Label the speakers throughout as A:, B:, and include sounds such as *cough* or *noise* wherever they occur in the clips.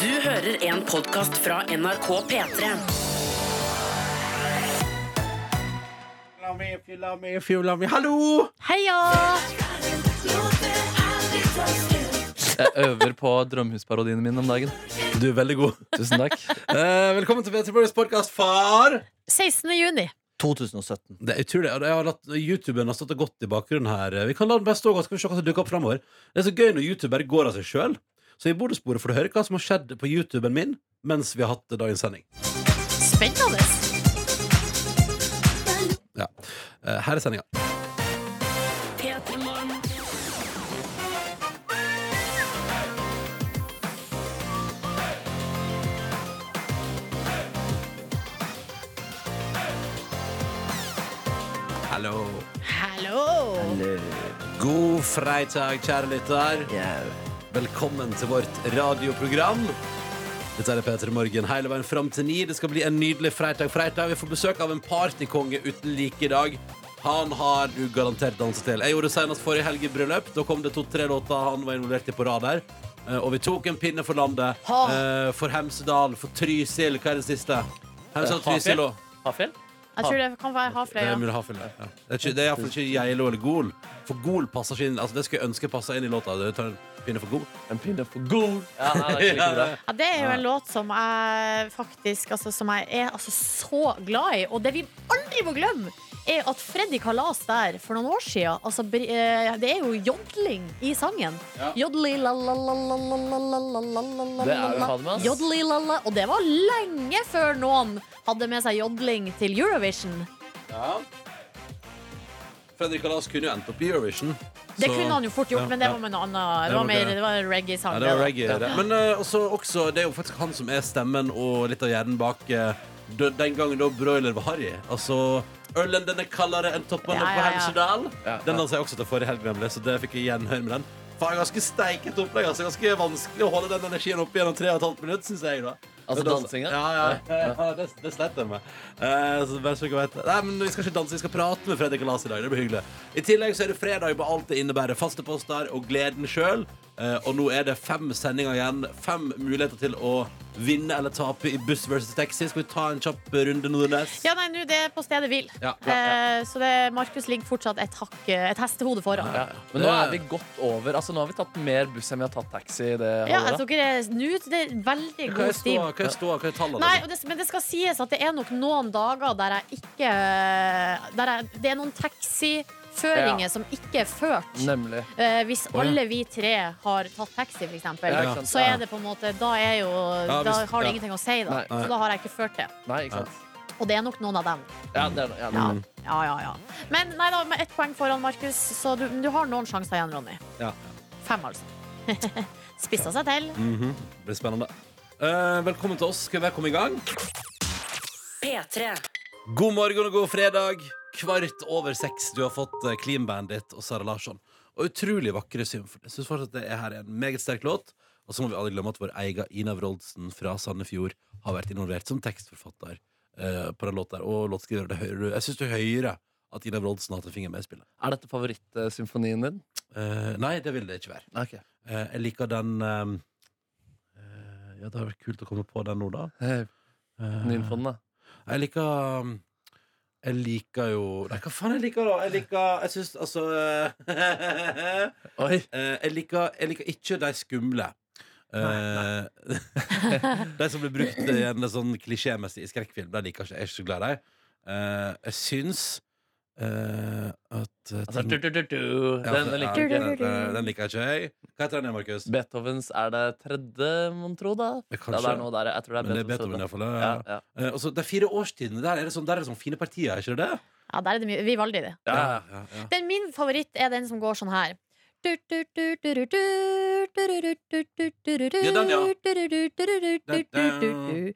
A: Du hører en podcast fra NRK P3.
B: La meg, if you love me, if you love me. Hallo!
C: Heia!
D: Jeg øver på drømhusparodiene mine om dagen.
B: Du er veldig *laughs* god.
D: Tusen takk.
B: Eh, velkommen til Petter Borges podkast, far!
C: 16. juni.
D: 2017.
B: Det er utrolig. og Jeg har latt, YouTuben har stått godt i bakgrunnen her. Vi kan la den beste også, skal vi se hva som dukker opp fremover. Det er så gøy når YouTube bare går av seg sjøl. Så i bonussporet får du høre hva som har skjedd på YouTuben min mens vi har hatt dagens sending.
C: Spennende.
B: Ja. Eh, Her er sendinga. Hallo.
C: Hallo!
B: God freitag, kjære lytter. Velkommen til vårt radioprogram. Dette er Peter Morgen hele veien fram til ni. Det skal bli en nydelig freitag. freitag. Vi får besøk av en partykonge uten like i dag. Han har du garantert danset til. Jeg gjorde det senest forrige helg i bryllup. Da kom det to-tre låter han var involvert i på rad her. Eh, Og vi tok en pinne for landet.
C: Ha.
B: Eh, For Hemsedal, for Trysil. Hva er det siste? Hemsedal, Trysil og
D: Hafjell?
C: Jeg tror det kan være
B: det
C: havfløya.
B: er mulig Hafjell, ja. Det er ikke- det er iallfall ikke Geilo eller Gol. For Gol passer ikke inn. Altså, det skulle jeg ønske passa inn i låta. Du tar en pinne for Gol.
D: En pinne for god. *laughs* Ja, nei, det er ikke like bra.
C: Ja, det er jo en låt som jeg faktisk altså, som jeg er altså, så glad i. Og det vi aldri må glemme, er at Freddy Kalas der for noen år siden altså, br- eh, Det er jo jodling i sangen. Jodli la la la la la la la la la la la
D: Det er det
C: la
D: fader meg, altså. ass.
C: Jodli la la Og det var lenge før noen hadde med seg jodling til Eurovision.
B: Fredrik Alas kunne jo endt opp i Eurovision.
C: Det
B: så-
C: kunne han jo fort gjort,
B: Ja,
C: men det
B: ja.
C: var med en annen Det var,
B: nok
C: mer,
B: det.
C: det var en reggae-sang.
B: Ja, det var
C: det da.
B: reggae. Det. Men eh, også, også, det er jo faktisk han som er stemmen og litt av hjernen bak eh, d- den gangen da broiler var harry. Altså Ølen den er kaldere enn toppen
C: Ja,
B: oppe på
C: ja, ja.
B: Hemsedal.
D: Ja,
B: Den
D: ja.
B: dansa jeg også til forrige helg, nemlig, så det fikk jeg gjenhør med den. Faen, ganske steiket opplegg. Altså, ganske vanskelig å holde den energien oppe gjennom tre og et halvt minutt, syns jeg. da
D: Altså
B: Men dans-
D: dansinga?
B: Ja, ja, ja det, det sleit jeg med. Eh, så bare så dere vet. Nei, men Vi skal ikke danse, vi skal prate med Fredrik og Lars i dag. Det blir hyggelig. I tillegg så er det fredag på alt det innebærer. Faste poster og gleden sjøl. og nå er det fem sendinger igjen. Fem muligheter til å vinne eller tape i buss versus taxi. Skal vi ta en kjapp runde, Nordnes?
C: Ja, nei, nå det er på stedet hvil.
B: Ja, bra, ja.
C: Eh, så det, Markus ligger fortsatt et, hakk, eh, et hestehode foran.
D: Ja. Men nå er vi godt over. Altså, nå har vi tatt mer buss enn vi har tatt taxi. i Det
C: Ja, altså- jeg
D: halvåret.
C: tror ikke det er nå det er veldig
B: Hva
C: god
B: er
C: stil.
B: ståa? Hva er ståa? Hva er tallene?
C: Nei, og det, men det skal sies at det er nok noen dager der jeg ikke der jeg, Det er noen taxiføringer
D: Ja.
C: som ikke er ført.
D: Nemlig.
C: Eh, hvis
B: ja.
C: alle vi tre har tatt taxi, for eksempel,
D: Ja, ikke sant?
C: så
D: Ja.
C: er det på en måte Da, er jo,
B: Ja,
C: da
B: hvis-
C: har det
B: ja.
C: ingenting å si, da.
D: Nei.
C: Så da har jeg ikke ført det.
D: Nei, ikke sant.
C: Og det er nok noen av dem.
D: Ja, det er, ja, det
C: Ja,
B: Mm.
D: er.
C: ja, ja, ja. Men nei da, med ett poeng foran Markus, så du, du har noen sjanser igjen, Ronny.
B: Ja. Mm.
C: Fem, altså. *laughs* Spissa seg til.
B: Det blir spennende. Eh, velkommen til oss. Skal vi komme i gang?
A: P3.
B: God morgen og god fredag. Kvart over seks. Du har fått eh, Clean Bandit og Sara Larsson. Og utrolig vakre symfoni. Jeg syns fortsatt det er her er en meget sterk låt. Og så må vi aldri glemme at vår egen Ina Wroldsen fra Sandefjord har vært involvert som tekstforfatter eh, på den låta. her. Og låtskriver. Det hører du. Jeg syns du hører at Ina Wroldsen har hatt en finger med i spillet.
D: er dette favorittsymfonien din?
B: Eh, nei, det vil det ikke være.
D: Ok.
B: Eh, jeg liker den eh, eh, Ja, det hadde vært kult å komme på den nå, da.
D: Eh,
B: Eh,
D: Nymfonen, da.
B: Jeg liker um, Jeg liker jo Nei, hva faen jeg liker da? Jeg liker Jeg syns altså eh, *laughs*
D: Oi.
B: eh, jeg, liker, jeg liker ikke de skumle. *laughs* Eh, de som blir brukt i en sånn klisjémessig i skrekkfilm. De liker ikke, jeg er ikke så glad i dem. Eh, jeg syns eh, at eh,
D: Altså,
B: ting-
D: du, du, du, du.
B: Ja,
D: Den, den liker jeg
B: ja,
D: ikke.
B: den- Den, den liker ikke jeg. Hva heter den igjen, Markus?
D: Beethovens er det tredje, mon tro, da?
B: Eh,
D: Ja, det er noe der. Jeg tror det
B: men det
D: er
B: er
D: Beethovens.
B: Beethoven,
D: tredje.
B: iallfall. Ja.
D: Ja,
B: Ja.
D: ja.
B: Eh, og så de fire årstidene, der er det sånn, der er det sånn fine partier, er ikke det det?
C: Ja, der er det mye Vivaldi, det.
D: Ja, ja.
B: ja, ja.
C: Den min favoritt er den som går sånn her. Ja, den,
B: ja.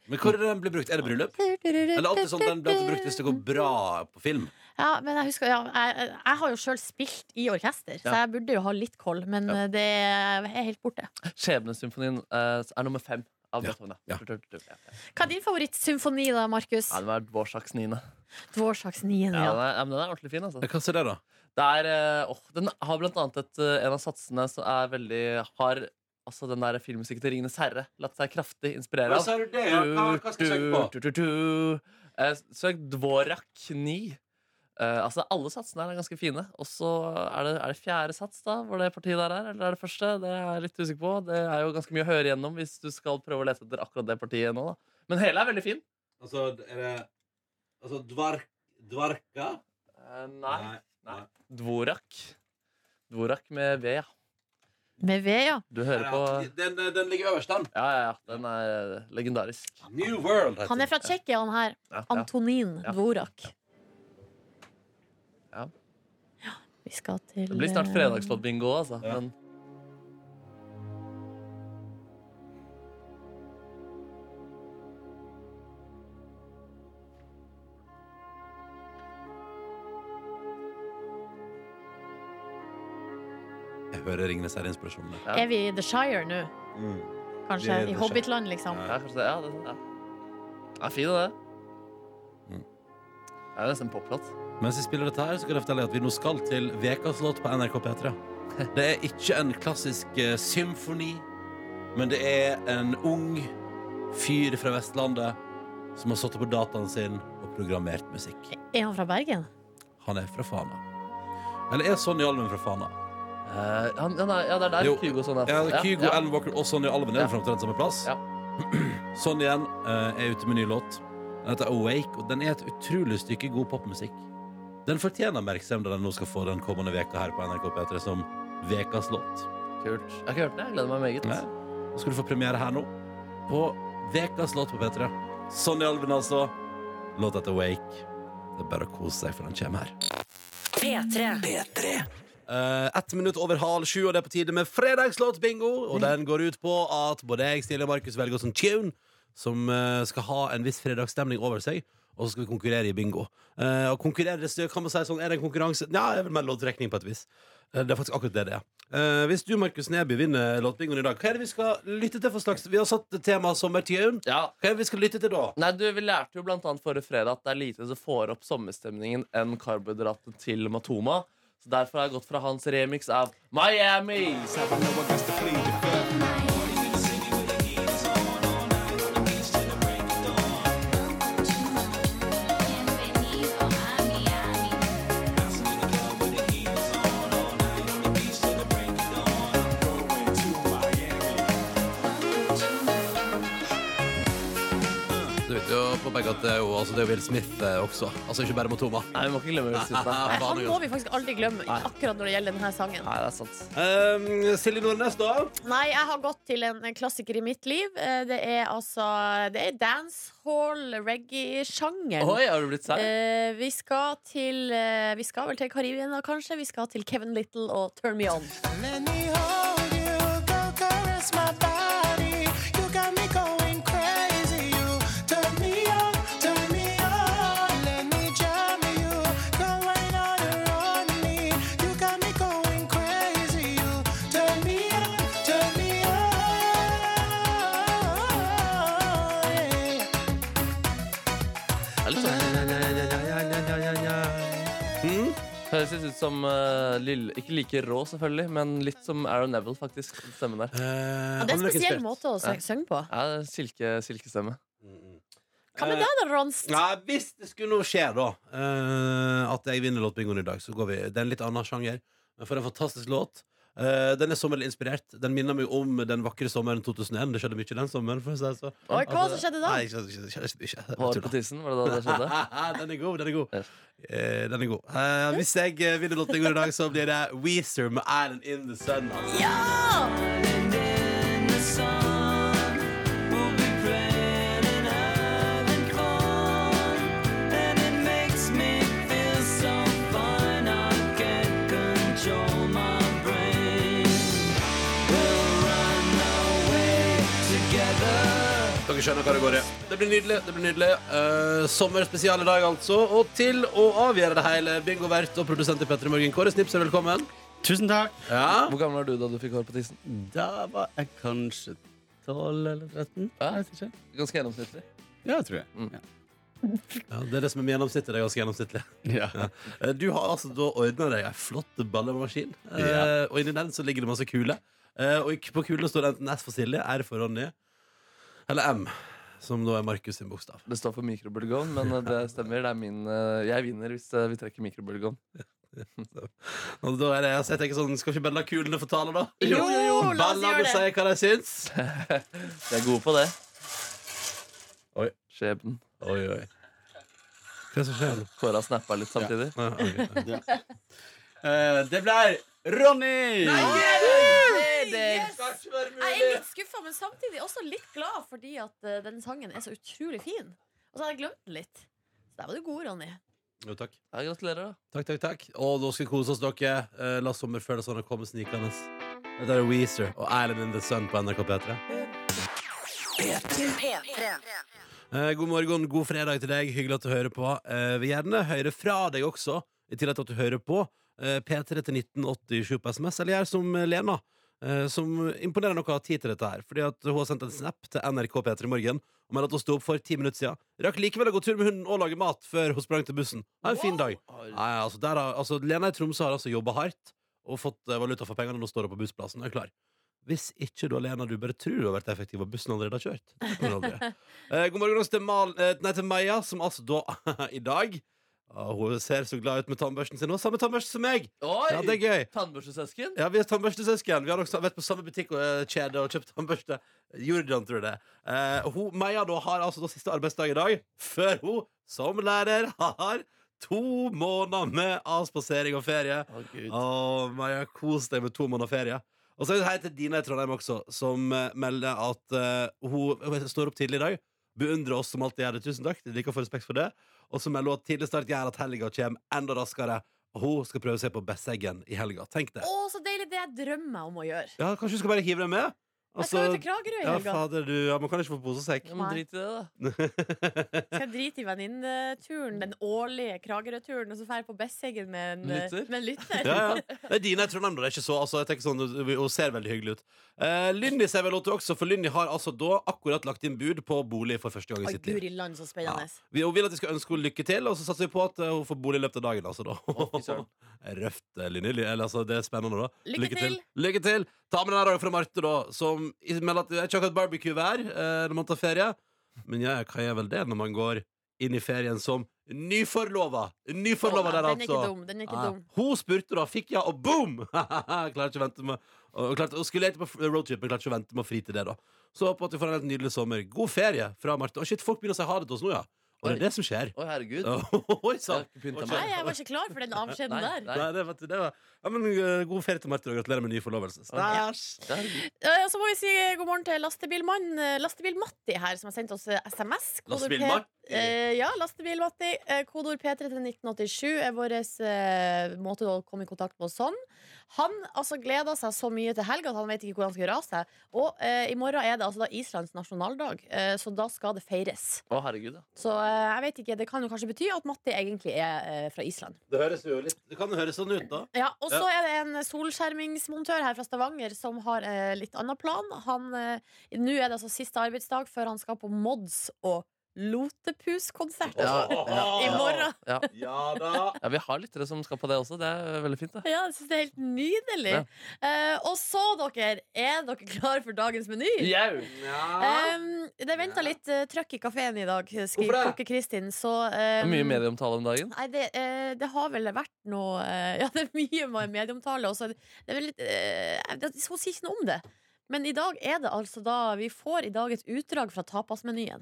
B: Men hvor er det den blir brukt? Er det bryllup? Eller alltid sånn den blir alltid brukt hvis det går bra på film.
C: Ja, men jeg husker ja, jeg, jeg har jo sjøl spilt i orkester, så
D: Ja.
C: jeg burde jo ha litt koll, men eh, det er helt borte.
D: Skjebnesymfonien eh, er nummer fem av
B: Ja,
D: Beethoven.
B: ja.
D: Ja. Du, du, du, du. Ja.
C: Hva er din favorittsymfoni, da, Markus?
D: Ja, den var Dvorsaks niende.
C: Dvorsaks 9.
D: Ja, den er, ja, men den er ordentlig fin. Altså.
B: Hva er det, da?
D: Det er, eh, åh, den har blant annet et, eh, en av satsene som er veldig har altså den der filmmusikken til Ringenes herre latt seg kraftig inspirere
B: Hva
D: av.
B: sa du det? Hva, hva skal jeg søke på?
D: Du, du, du, du. Eh, Søk Dvorak 9. Eh, altså Alle satsene her er ganske fine. Og så er det, er det fjerde sats, da, hvor det partiet der er? Eller er det første? Det er jeg litt usikker på. Det er jo ganske mye å høre gjennom hvis du skal prøve å lete etter akkurat det partiet nå. da Men hele er veldig fin.
B: Altså, er det Altså, dvark, dvarka?
D: Eh, nei. nei. Dvorak. Dvorak med V, ja.
C: Med ved, ja.
D: Du hører på
B: Ja, Den, den ligger øverst, den.
D: Ja, ja, ja. Den er eh, legendarisk.
B: New World. heter
C: Han er fra Tsjekkia, han her.
D: Ja, ja.
C: Antonin
D: Ja.
C: Dvorak.
D: Ja.
C: Ja, Vi skal til
D: Det blir snart
C: eh,
D: fredagslåtbingo, altså.
B: Ja.
D: Men
B: den. Jeg hører Ringenes herre-inspirasjonen. der.
D: Ja.
C: Er vi i The Shire nå?
B: Mm. Vi
C: Kanskje?
B: er i The
C: I
B: Shire.
C: Hobbitland, liksom?
D: ja, kanskje det. Ja, det ja. ja fin, det.
B: Mm.
D: Det er jo nesten en poplåt.
B: Mens vi spiller dette her, så kan jeg fortelle at vi nå skal til Vekas låt på NRK P3. Det er ikke en klassisk eh, symfoni, men det er en ung fyr fra Vestlandet som har satt på dataen sin og programmert musikk.
C: Er han fra Bergen?
B: Han er fra Fana. Eller er Sonny Alven fra Fana?
D: Eh, han, han er, ja, det er der
B: Jo.
D: Kygo sånn er.
B: Ja, Kygo,
D: ja.
B: Ellen Walker og Sonny Alven er
D: Ja.
B: jo fra omtrent samme plass. *clears throat*
D: Ja.
B: Sonny igjen eh, er ute med ny låt. Den heter Awake, og den er et utrolig stykke god popmusikk. Den fortjener oppmerksomhet da den nå skal få den kommende veka her på NRK P3 som Vekas låt.
D: Kult. Jeg har ikke hørt den. Jeg gleder meg meget.
B: Nei. Nå skal du få premiere her nå på Vekas låt på P3. Sonny Alven, altså. Låta heter Awake. Det er bare å kose seg, for den kommer her.
A: P3.
B: Eh, Ett minutt over halv sju, og det er på tide med fredagslåtbingo. Og den går ut på at både jeg, Silje og Markus velger oss en tune som eh, skal ha en viss fredagsstemning over seg. Og så skal vi konkurrere i bingo. Eh, og konkurrere det stø- kan man si sånn, Er det en konkurranse? Ja, det er vel mer loddtrekning på et vis. Eh, det er faktisk akkurat det det er. Eh, hvis du, Markus Neby, vinner låtbingoen i dag, hva er det vi skal lytte til for slags Vi har satt temaet sommertune.
D: Ja.
B: Hva er det vi skal lytte til da?
D: Nei, du, Vi lærte jo blant annet forrige fredag at det er lite som får opp sommerstemningen enn karbohydratet til Matoma. Så Derfor har jeg gått fra hans remix av Miami.
B: Du vet jo på begge at det er jo, altså, det er jo Will Smith eh, også. Altså ikke bare Motoma.
D: Nei, vi må ikke glemme Will Smith.
B: *laughs*
D: Nei.
C: Nei, han må vi faktisk aldri glemme, akkurat når det gjelder denne sangen.
D: Nei, det er sant.
B: Eh, Silje Nordnes, da?
C: Nei, jeg har gått til en en klassiker i mitt liv. Eh, Det er altså Det er dancehall, reggae-sjangeren.
D: Oi, har du blitt sær?
C: Eh, vi skal til eh, Vi skal vel til Karibien, da, kanskje? Vi skal til Kevin Little og Turn Me On.
E: Let me hold you, go caress my body. You got me going crazy. You turn me on, turn me on. Let me jam you, go right on around me. You got me going crazy. You turn me on, turn me on.
D: Det er litt sånn Høres litt ut som eh, Lill- Ikke like rå, selvfølgelig, men litt som Aaron Neville, faktisk. den Stemmen der.
C: Ja, det er en spesiell måte å sy- synge på.
D: Ja, det er silke, silkestemme.
C: Hva med deg da, Ronst?
B: Nei, Hvis det skulle nå skje, da, eh, at jeg vinner låtbingoen i dag, så går vi Det er en litt annen sjanger, men for en fantastisk låt. Eh, den er sommerlig inspirert. Den minner meg om den vakre sommeren 2001. Det skjedde mye den sommeren. For å si det sånn.
C: Oi, hva var det som skjedde da?
B: Nei, ikke- ikke- ikke- ikke- ikke- ikke-
D: Hår
B: tull,
D: på
B: da.
D: tissen, var det da
B: *laughs*
D: det skjedde?
B: den er god, den er god.
D: Yes.
B: Eh, den er god. Eh, hvis jeg eh, vinner låtbingoen i dag, så blir det Weezer med 'Island in the Sun'. altså.
C: Ja!
B: Dere skjønner hva det går i. Det blir nydelig. det blir nydelig Eh, Sommerspesial i dag, altså. Og til å avgjøre det hele, bingovert og produsent i Petter i Morgen, Kåre Snipser, velkommen.
F: Tusen takk.
B: Ja.
D: Hvor gammel var du da du fikk hår på tissen?
F: Da var jeg kanskje 12 eller 13.
D: Ja.
F: Jeg vet ikke.
D: Ganske gjennomsnittlig.
F: Ja, tror jeg.
G: Mm.
B: Det er det som er med gjennomsnittet. Det er ganske gjennomsnittlig.
F: Ja.
B: Eh, Du har altså da ordna deg ei flott ballemaskin, eh, og inni den så ligger det masse kuler. Eh, og i- på kula står det enten S for Silje, R for Ronny, eller M, som da er Markus sin bokstav.
D: Det står for mikrobølgeovn, men eh, det stemmer. Det er min, eh, jeg vinner hvis eh, vi trekker mikrobølgeovn.
B: Og da er det, så jeg tenker sånn, Skal vi ikke bare la kulene få tale, da?
C: Jo, jo, jo, la
B: Bare
C: oss gjøre
B: dem
C: det.
B: si hva de syns.
D: Vi er gode på det.
B: Oi.
D: Skjebnen.
B: Oi, oi. Hva er det som skjer nå?
D: Kåra snappa litt samtidig.
B: Nei, ok.
F: Eh, det ble Ronny!
C: Yes! Jeg er litt skuffa, men samtidig også litt glad, fordi at eh, den sangen er så utrolig fin. Og så har jeg glemt den litt. Så der var du god, Ronny.
B: Jo, takk.
D: Ja, gratulerer, da.
B: Takk, takk, takk. Og da skal vi kose oss, dere. Eh, La sommerfølelsene komme snikende. Dette er Weezer og Island in the Sun på NRK P3.
A: P3.
B: Eh, God morgen, god fredag til deg. Hyggelig at du hører på. Eh, Vi gjerne hører fra deg også, i tillegg til at du hører på. Eh, P3 til 1987 på SMS, eller gjør som Lena, eh, som imponerer nok har tid til dette her. Fordi at hun har sendt en snap til NRK P3 i morgen og melder at hun sto opp for ti minutter siden. Rakk likevel å gå tur med hunden og lage mat før hun sprang til bussen. Ha en fin dag. Nei, altså, der har, altså, Lena i Tromsø har altså jobba hardt og fått eh, valuta for pengene. Nå står hun på bussplassen og er klar. Hvis ikke du Lena, du bare tror du har vært effektiv, og bussen allerede har kjørt. Det kan du aldri. Eh, god morgen også til, Mal, eh, nei, til Maja, som altså da *laughs* i dag ah, Hun ser så glad ut med tannbørsten sin. Og samme tannbørste som meg!
D: Oi!
B: Ja, det er gøy.
D: Tannbørstesøsken.
B: Ja, Vi er tannbørstesøsken. Vi har også vært på samme butikk og eh, kjede og kjøpt tannbørste. Jordan, tror jeg det. er. Eh, hun, Maja da har altså da siste arbeidsdag i dag, før hun som lærer har to måneder med avspasering og ferie.
D: Å, Gud.
B: Åh, Maja, kos deg med to måneder ferie. Og så er det hei til Dina i Trondheim også, som eh, melder at eh, hun, hun står opp tidlig i dag. Beundrer oss som alltid gjør det. Tusen takk. Liker å få respekt for det. Og så melder hun at tidlig start gjør at helga kommer enda raskere. Og hun skal prøve seg på Besseggen i helga. Tenk det.
C: Å, så deilig! Det jeg drømmer om å gjøre.
B: Ja, Kanskje du skal bare hive deg med?
C: Jeg skal jo
B: Altså,
C: til Kragerø i
B: ja,
C: helga.
B: fader, du, ja, man kan ikke få pose og
C: *laughs*
B: sekk.
D: Ja, men drit i det, da.
C: Skal jeg drite i venninneturen, den årlige Kragerø-turen, og så drar jeg på Besseggen med en
D: Med lytter?
C: Med en lytter.
B: Ja, ja. Det er dine i Trondheim, da. Det er ikke så altså, jeg tenker sånn, Hun ser veldig hyggelig ut. Eh, Lynni ser vel ut også, for Lynni har altså da akkurat lagt inn bud på bolig for første gang
C: Oi,
B: i sitt liv.
C: guri land, så spennende.
B: Vi hun vil at vi skal ønske henne lykke til, og så satser vi på at eh, hun får bolig i løpet av dagen. Altså, da.
D: fy søren.
B: *laughs* Røft, eh, Linni. Li- Eller, altså, det er spennende, da.
C: Lykke til.
B: Lykke til! Ta med den her også fra Marte, da, som i- melder at det er ikke akkurat barbecue hver eh, når man tar ferie, men ja, hva gjør vel det når man går inn i ferien som nyforlova? Nyforlova
C: Å,
B: der,
C: den er ikke
B: altså.
C: dum. Den er ikke
B: Ja.
C: dum.
B: Hun spurte da, fikk jeg, og boom! *laughs* klarer ikke å vente med og klarte, Hun skulle egentlig på f- roadtrip, men klarte ikke å vente med å fri til det. da Så håper jeg at vi får en helt nydelig sommer. God ferie fra Marte. Å shit, Folk begynner å si ha det til oss nå, ja. Og det er det som skjer.
D: Å, herregud.
B: *laughs* Oi
D: Jeg
B: sann!
D: har ikke pynta
C: Nei,
D: meg.
C: jeg var ikke klar for den avskjeden
D: Nei,
C: der.
D: nei.
B: Nei, det var, det var. Ja, men, eh, god ferie til Marte, og gratulerer med ny forlovelse. Stæsj!
D: Herregud.
C: Eh, Så må vi si god morgen til lastebilmann eh, Lastebil Matti her, som har sendt oss eh, SMS. Kodord
B: Lastebil
C: P-
B: Matti?
C: Eh, ja, Lastebil Matti. Eh, Kodord P3 til 1987 er vår eh, måte å komme i kontakt med oss sånn. Han altså gleda seg så mye til helga at han vet ikke hvor han skal gjøre av seg. Og eh, i morgen er det altså da Islands nasjonaldag, eh, så da skal det feires.
D: Å, herregud, ja.
C: Så eh, jeg vet ikke, det kan jo kanskje bety at Matti egentlig er eh, fra Island.
B: Det, høres jo litt, det kan jo høres sånn ut, da.
C: Ja, og så er det en solskjermingsmontør her fra Stavanger som har eh, litt annen plan. Han, eh, nå er det altså siste arbeidsdag før han skal på Mods og Lotepuskonsert i morgen. *laughs*
D: ja.
B: ja da!
D: Ja, Vi har lyttere som skal på det også. Det er veldig fint. det
C: Ja, jeg syns det er helt nydelig.
D: Ja.
C: Eh, og så, dere, er dere klare for dagens meny?
D: Jau!
C: Em, det venta litt uh, trøkk i kafeen i dag, skriver
B: Hvorfor
C: Kokke Kristin. Så eh,
D: Det er Mye medieomtale om dagen.
C: Nei, det, eh, det har vel vært noe eh, *laughs* Ja, det er mye med medieomtale. Også. Det er vel litt, eh, det, hun sier ikke noe om det. Men i dag er det altså da Vi får i dag et utdrag fra tapasmenyen.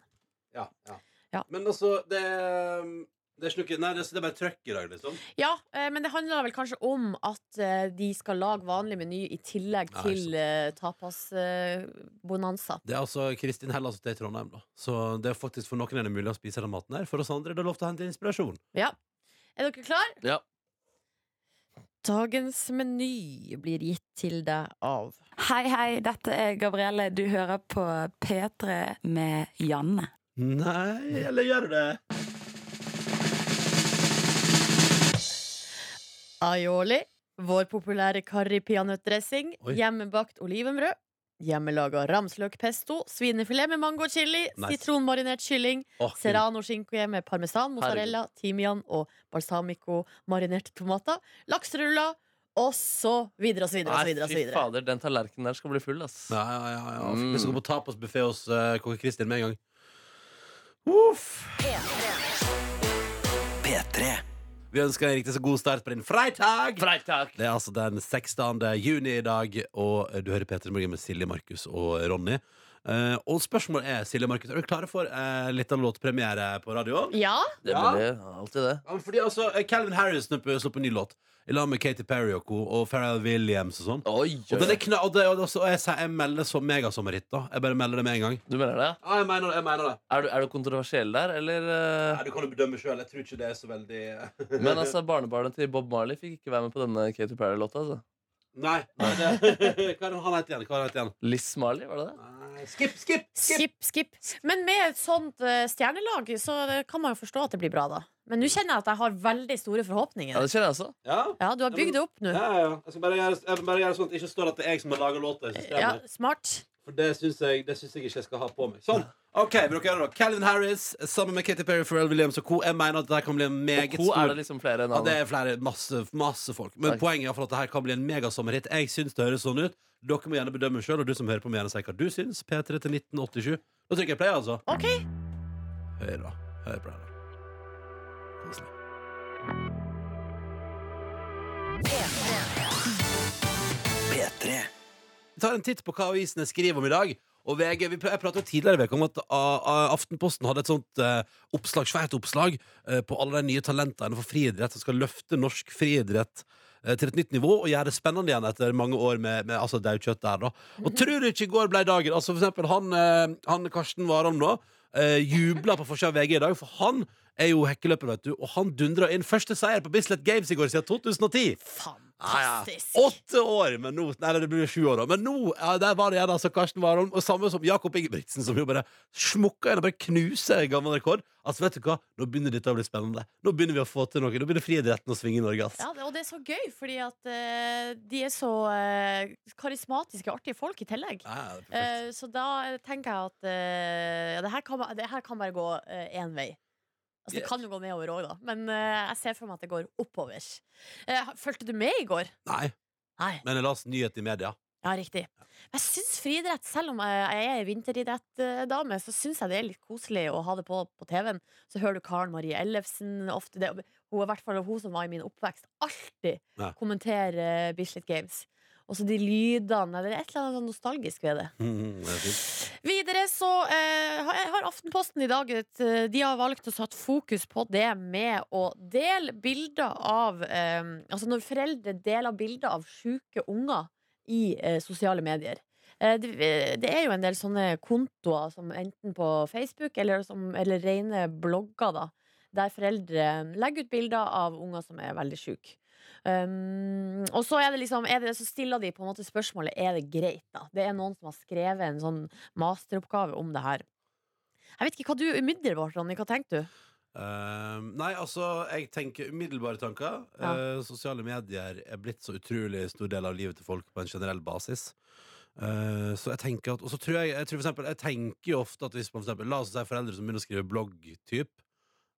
B: Ja, ja.
C: Ja.
B: Men altså, det det er, ikke noe, nei, det, er- det er bare trøkk i dag, liksom.
C: Ja, eh, men det handler vel kanskje om at eh, de skal lage vanlig meny i tillegg
B: Nei, sant.
C: til eh, tapasbonanza.
B: Det er altså Kristin Hellas ute i Trondheim, da. Så det er faktisk for noen er det mulig å spise den maten her. For oss andre er det lov til å hente inspirasjon.
C: Ja. Er dere klar?
D: Ja.
C: Dagens meny blir gitt til deg av
H: Hei, hei, dette er Gabrielle. Du hører på P3 med Janne.
B: Nei, eller gjør du det?
C: Aioli, vår populære curry peanøttdressing,
B: Oi.
C: hjemmebakt olivenbrød, hjemmelaga ramsløkpesto, svinefilet med mangochili,
B: Nice.
C: sitronmarinert kylling,
B: Åh,
C: serrano skinke med parmesan, mozzarella, timian og balsamico marinerte tomater, lakseruller og så videre og så
B: altså,
C: videre. Og så videre, og så
D: Nei, fy
C: videre.
D: fader, den tallerkenen der skal bli full, ass.
B: Ja, ja, ja, ja.
D: Mm.
B: Vi skal gå på tapasbuffé hos uh, kokke Kristin med en gang. Uff. Vi ønsker deg en riktig så god start på din freitag.
D: Freitak!
B: Det er altså den 16. juni i dag, og du hører Peter Morgen med Silje, Markus og Ronny. Eh, og spørsmålet er, Silje og Markus, er du klare for eh, litt av låtpremiere på radioen?
C: Ja,
D: Det
B: Ja.
D: blir alltid det.
B: Ja, men fordi altså, eh, Calvin Harris slipp- slapp en ny låt i lag med Katy Perry og co. Og Pharrell Williams og sånn.
D: Oi,
B: Og, den er kna og, det, og, det, og jeg, sier- jeg melder som megasommerhit, da. Jeg bare melder det med en gang.
D: Du mener det? ja?
B: Ja, jeg mener det. jeg mener det
D: Er du, er du kontroversiell der, eller? eh,
B: Nei, Du kan jo bedømme sjøl. Jeg tror ikke det er så veldig eh,
D: Men altså, barnebarnet til Bob Marley fikk ikke være med på denne Katy Perry-låta. altså.
B: *laughs* Nei. nei det... *laughs* Hva er det han heter igjen? Hva er det han heter igjen?
D: Liz Marley, var det det?
B: Nei, Skip, skip, skip!
C: skip, skip. Men med et sånt eh, stjernelag så eh, kan man jo forstå at det blir bra, da. Men nå kjenner jeg at jeg har veldig store
D: Ja,
C: forhåpninger.
D: det kjenner jeg også.
B: Ja.
C: Ja, du har bygd det opp nå.
B: Ja, ja, ja. Jeg skal bare gjøre, jeg vil bare gjøre sånn at det ikke står at det er jeg som har laga låta. i systemet.
C: Ja, smart.
B: For det syns jeg, det syns jeg ikke jeg skal ha på meg. Sånn. Ok, vil dere gjøre det da? Calvin Harris sammen med Katy Perry, Pharrell Williams og co. Jeg mener at det her kan bli en meget
D: Hvor er
B: stor
D: det liksom flere
B: ja,
D: navn?
B: det er flere, masse, masse folk. Men
D: Takk.
B: poenget er for at det her kan bli en megasommerhit. Jeg syns det høres sånn ut. Dere må gjerne bedømme sjøl, og du som hører på, må gjerne si hva du syns. P3 til 1987. Da trykker jeg play, altså.
C: OK.
B: Hør, da. Hør på det her. Kos deg. Vi tar en titt på hva avisene skriver om i dag. Og VG, vi, pr- Jeg pratet jo tidligere i veka om at A- A- Aftenposten hadde et sånt eh, oppslag, svært oppslag eh, på alle de nye talentene for friidrett som skal løfte norsk friidrett eh, til et nytt nivå og gjøre det spennende igjen etter mange år med, med altså, daukjøtt der. da Og tror du ikke i går ble dagen? Altså For eksempel han, eh, han Karsten Warholm nå eh, jubla på forsida av VG i dag, for han er jo hekkeløper, vet du. Og han dundra inn første seier på Bislett Games i går siden 2010.
C: Fantastisk.
B: Åtte år, men nå Nei, det blir sju år, da. Men nå ja, der var det igjen altså Karsten Warholm. Og samme som Jakob Ingebrigtsen, som jo bare smukka igjen og bare knuser gammel rekord. Altså, vet du hva? Nå begynner dette å bli spennende. Nå begynner vi å få til noe. Nå begynner friidretten å svinge i Norge. Altså.
C: Ja, det, og det er så gøy, fordi at eh, de er så eh, karismatiske, artige folk i tillegg.
B: Ja, ja, det er perfekt.
C: Eh, så da tenker jeg at eh, ja, det, her kan, ba- det her kan bare gå eh, én vei. Altså, det
B: Ja.
C: kan jo gå nedover òg, da, men eh, jeg ser for meg at det går oppover. Eh, ha- Fulgte du med i går?
B: Nei,
C: Nei.
B: men jeg leste nyhet i media. *laughs*
C: Ja, riktig. Jeg syns friidrett, selv om jeg jeg er vinteridrettdame, så syns jeg det er litt koselig å ha det på på TV-en. Så hører du Karen Marie Ellefsen ofte det, Hun er i hvert fall hun som var i min oppvekst, alltid
B: Ja.
C: kommentere eh, Bislett Games. Og så de lydene. Det er et eller annet sånn nostalgisk ved det.
B: Mm, det er fint.
C: Videre så eh, har- har Aftenposten i dag et, eh, De har valgt å satt fokus på det med å dele bilder av eh, Altså når foreldre deler bilder av sjuke unger i eh, sosiale medier. Eh, det, det er jo en del sånne kontoer som enten på Facebook eller, som, eller rene blogger, da, der foreldre legger ut bilder av unger som er veldig sjuke. Um, og så, er det liksom, er det, så stiller de på en måte spørsmålet Er det greit. da? Det er noen som har skrevet en sånn masteroppgave om det her. Jeg vet ikke hva du umiddelbart, Ronny. Hva tenkte du?
B: Ehm, nei, altså, jeg tenker umiddelbare tanker.
C: Ja.
B: Eh, sosiale medier er blitt så utrolig stor del av livet til folk på en generell basis. Eh, så jeg tenker at Og så tror jeg, jeg tror for eksempel, Jeg tenker jo ofte at hvis man for eksempel, La oss si foreldre som begynner å skrive blogg-typ.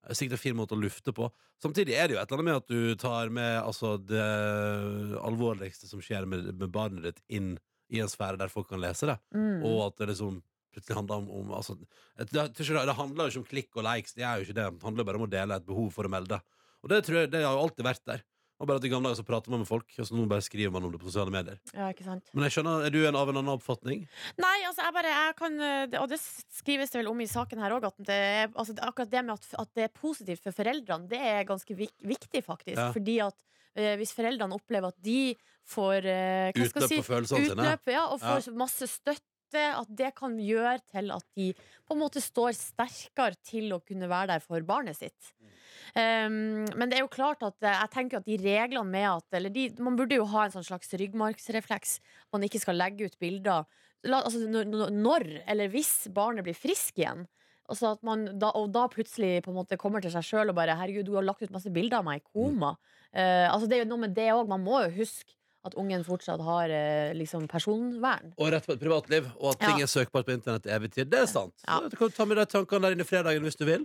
B: er Sikkert en fin måte å lufte på. Samtidig er det jo et eller annet med at du tar med altså, det alvorligste som skjer med, med barnet ditt, inn i en sfære der folk kan lese det.
C: Mm.
B: Og at det liksom plutselig handler om, om altså, jeg, jeg, tror ikke det, det handler jo ikke om klikk og likes, det er jo ikke det. Det handler bare om å dele et behov for å melde. Og det tror jeg, det har jo alltid vært der. Og bare at I gamle dager så prater man med folk, og så nå bare skriver man om det på sosiale medier.
C: Ja, ikke sant?
B: Men jeg skjønner, Er du en av en annen oppfatning?
C: Nei, altså jeg bare jeg kan, eh, Og det skrives det vel om i saken her òg, at det, er- altså, det- akkurat det med at, at det er positivt for foreldrene, det er ganske vik, viktig, faktisk.
B: Ja.
C: Fordi at eh, hvis foreldrene opplever at de får eh, hva
B: Utløp
C: skal jeg si,
B: for følelsene sine?
C: utløp, ja, og får masse støtte, at det kan gjøre til at de på en måte står sterkere til å kunne være der for barnet sitt.
B: Mm.
C: Um, men det er jo klart at eh, jeg tenker at de reglene med at eller de, Man burde jo ha en sånn slags ryggmargsrefleks. Man ikke skal legge ut bilder La, altså, når, når- når eller hvis barnet blir frisk igjen. Altså at man da, og da plutselig på en måte kommer til seg sjøl og bare 'Herregud, du har lagt ut masse bilder av meg i koma'. Eh, altså Det er jo noe med det òg. Man må jo huske at ungen fortsatt har eh, liksom personvern.
B: Og rett på et privatliv, og at ting
C: Ja.
B: er søkbart på internett til evig tid. Det er sant.
C: Ja.
B: Så du kan ta med deg tankene der inne i fredagen hvis du vil.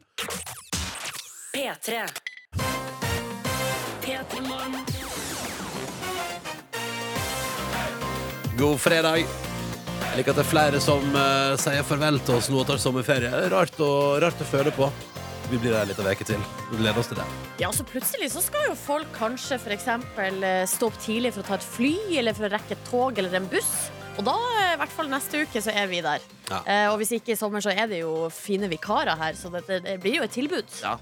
A: P3. P3.
B: God fredag. Jeg liker at det er flere som eh, sier farvel til oss nå og tar sommerferie. Det er rart å, rart å føle på. Vi blir der ei lita uke til. Vi gleder oss til det.
C: Ja, så plutselig så skal jo folk kanskje for eksempel eh, stå opp tidlig for å ta et fly, eller for å rekke et tog eller en buss. Og da, eh, i hvert fall neste uke, så er vi der.
B: Ja.
C: Eh, og hvis ikke i sommer, så er det jo fine vikarer her, så dette, det blir jo et tilbud.
D: Ja.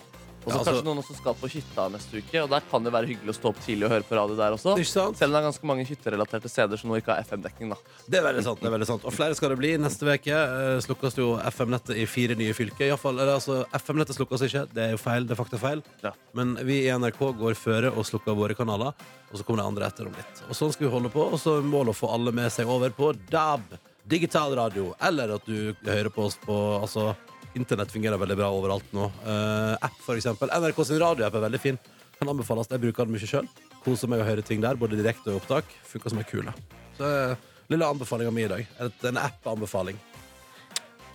D: Og så
B: Ja, altså-
D: kanskje noen også skal på hytta neste uke, og der kan det være hyggelig å stå opp tidlig og høre på radio der også.
B: Ikke sant?
D: Selv om det er ganske mange hytterelaterte steder som nå ikke har FM-dekning, da.
B: Det er veldig sant. det er veldig sant Og flere skal det bli. Neste uke eh, slukkes jo FM-nettet i fire nye fylker. I alle fall, eller, altså, FM-nettet slukkes ikke. Det er jo feil. Det er faktafeil.
D: Ja.
B: Men vi i NRK går føre og slukker våre kanaler, og så kommer de andre etter om litt. Og Sånn skal vi holde på, og så er målet å få alle med seg over på DAB, digital radio, eller at du hører på oss på altså, Internett fungerer veldig bra overalt nå. Eh, app, for eksempel. NRK sin radioapp er veldig fin. Kan anbefales. Jeg bruker den mye sjøl. Koser meg å høre ting der, både direkte og i opptak. Funker som ei kule. Så eh, lille anbefalinga mi i dag. Et- En app-anbefaling.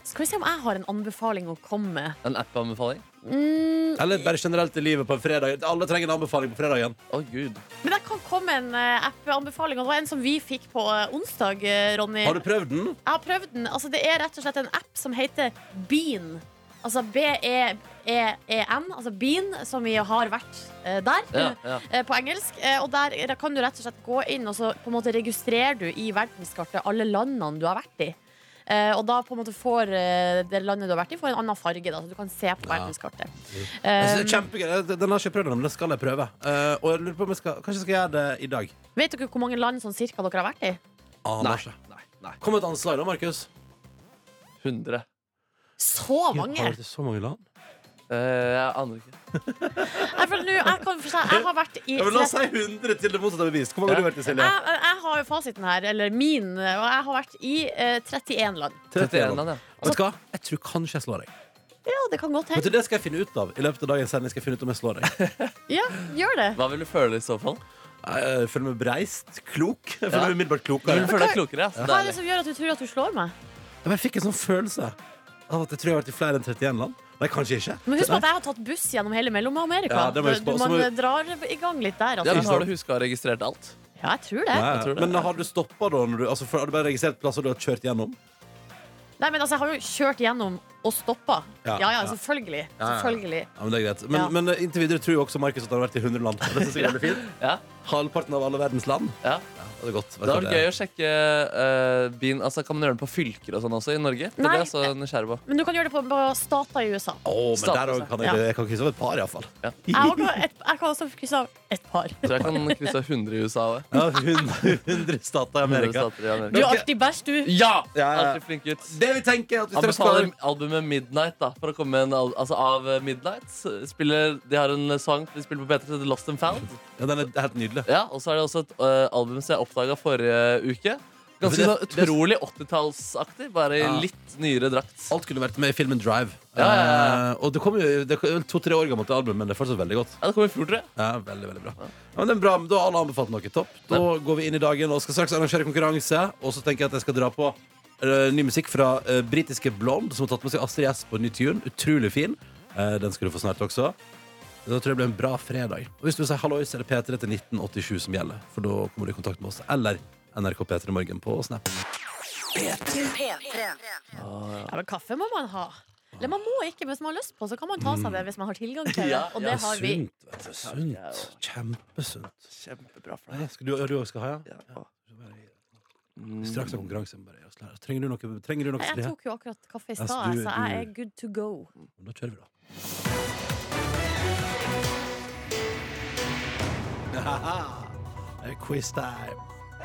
C: Skal vi se om jeg har en anbefaling å komme med.
D: En app-anbefaling?
B: Eller bare generelt i livet på en fredag. Alle trenger en anbefaling på fredagen.
D: Å,
B: *laughs*
D: gud.
C: Men jeg kan komme med en eh, app-anbefaling, og det var en som vi fikk på eh, onsdag, eh, Ronny.
B: Har du prøvd den?
D: Um.
C: Jeg har prøvd den. Altså, det er rett og slett en app som heter Bean. Altså B-E-E-N, altså Bean, som vi har vært eh, der
D: Ja, ja.
C: *laughs* eh, på engelsk. Eh, og der eh, kan du rett og slett gå inn og så på en måte registrerer du i verdenskartet alle landene du har vært i. Eh, og da på en måte får eh, det landet du har vært i, får en annen farge. Da, så du kan se på verdenskartet.
B: Jeg
C: Eh,
B: synes det er Kjempegøy. Jeg- Den har ikke jeg prøvd, den, men den skal jeg prøve. Eh, og jeg lurer på om jeg skal, Kanskje jeg skal gjøre det i dag.
C: vet dere hvor mange land sånn cirka dere har vært i?
B: Aner ikke.
D: Nei, nei.
B: Kom med et anslag, da, Markus.
D: 100.
C: Så mange!
B: Har du så mange land?
D: Eh, jeg aner ikke.
C: Jeg, føler nå- jeg, kan, jeg har vært i
B: Ja, men la oss si 100 til det motsatte er bevist. Hvor mange har du vært i, Silje?
C: jeg, jeg har jo fasiten her, eller min, og jeg har vært i eh, 31 land.
D: 31 land, ja.
B: Vet du hva? Jeg tror kanskje jeg slår deg.
C: Ja, det kan
B: Vet
C: godt
B: du,
C: hende.
B: Det skal jeg finne ut av. I løpet av dagens sending skal jeg finne ut om jeg slår
D: *laughs*
B: deg.
C: Ja, gjør det.
D: Hva vil du føle i så fall?
B: Jeg Eh, føler meg breist, klok. Jeg føler
D: Ja.
B: meg umiddelbart
D: Du vil
B: klokere.
D: føle deg klokere, ass.
C: Hva er det
D: Deilig.
C: som gjør at du tror at du slår meg?
B: Jeg bare fikk en sånn følelse av at jeg tror jeg har vært i flere enn 31 land. Nei, kanskje ikke.
C: Men husk på at jeg har tatt buss gjennom hele Mellom-Amerika.
B: Ja, det må jeg huske
C: Du-
B: på.
C: man eh,
B: Så må-
C: drar i gang litt der,
D: Ja,
C: altså.
D: men har du huska å ha registrert alt?
C: Ja, jeg tror det.
B: Nei,
D: Jeg tror det.
B: Men har du stoppa da? Når du, altså, for, har du bare registrert plasser du har kjørt gjennom?
C: Nei, men altså, jeg har jo kjørt gjennom og stoppa.
B: Ja,
C: Ja, ja,
B: ja.
C: selvfølgelig.
B: Ja, ja.
C: Selvfølgelig.
B: Ja, Men det er greit Men,
C: Ja.
B: men eh, inntil videre tror jo også Markus at han har vært i 100 land. *laughs* Det synes jeg er veldig fint
D: Ja,
B: Halvparten av alle verdens land.
D: ja.
B: Ja, det er godt.
D: Det hadde vært gøy å sjekke eh, bin, altså, Kan man gjøre det på fylker og sånn også i Norge? Det
C: Nei.
D: ble jeg så nysgjerrig på.
C: Men du kan gjøre det på, på stater i USA.
B: Å, men der også kan jeg,
C: Ja.
B: jeg kan krysse av et par, iallfall.
C: Jeg, har også et, jeg kan også krysse av et par.
D: Jeg tror jeg kan krysse av 100 i USA òg.
B: Ja, 100, 100 stater i Amerika.
C: Du er alltid bæsj, du.
D: Ja!
B: Ja, ja.
D: Alltid flink gutt.
B: Det vi tenker er at hvis dere
D: Anbefaler
B: skal
D: albumet Midnight da For å komme med en al Altså av eh, Midnight spiller, De har en eh, sang De spiller på P3 som heter Lost and Found
B: ja, Den er helt nydelig.
D: Ja, og så er det også et eh, album Som jeg oppdaget forrige uke Ganske
B: Det-
D: sånn utrolig 80-tallsaktig Bare i
B: Ja.
D: litt nyere drakt
B: Alt kunne vært med i filmen Drive.
D: Ja, ja, ja.
B: Eh, og det kom jo det er to-tre år gammelt album, men det er fortsatt veldig godt.
D: Ja, det kommer i fjor, tror jeg
B: Ja, veldig, veldig bra. Ja, men det er bra, men Da har alle anbefalt noe. Topp. Da går vi inn i dagen og skal straks arrangere konkurranse. Og så tenker jeg at jeg skal dra på eh, ny musikk fra eh, britiske Blond, som har tatt med seg Astrid S på ny tune. Utrolig fin. Eh, den skal du få snart også. Da tror jeg det blir en bra fredag. Og hvis du sier hallois, er det P3 til 1987 som gjelder. For da kommer du i kontakt med oss. Eller NRK P3 Morgen på Snap.
A: P3.
C: Ja, men kaffe må man ha. Eller man må ikke, men hvis man har lyst på, så kan man ta seg det hvis man har tilgang til det.
D: Ja,
C: Og det har vi.
B: Sunt. vet du, Sunt. Kjempesunt.
D: Kjempebra for
B: Ja, Skal du, ja, du også skal ha, ja?
D: deg ja.
B: Straks er konkurranse. Bare gjør oss klare. Trenger du noe? Trenger du noe
C: Jeg
B: Silje?
C: tok jo akkurat kaffe i
B: Ja, så
C: stad,
B: du-
C: så jeg
B: du-
C: er good to go.
B: Da kjører vi, da. Det er quiz time.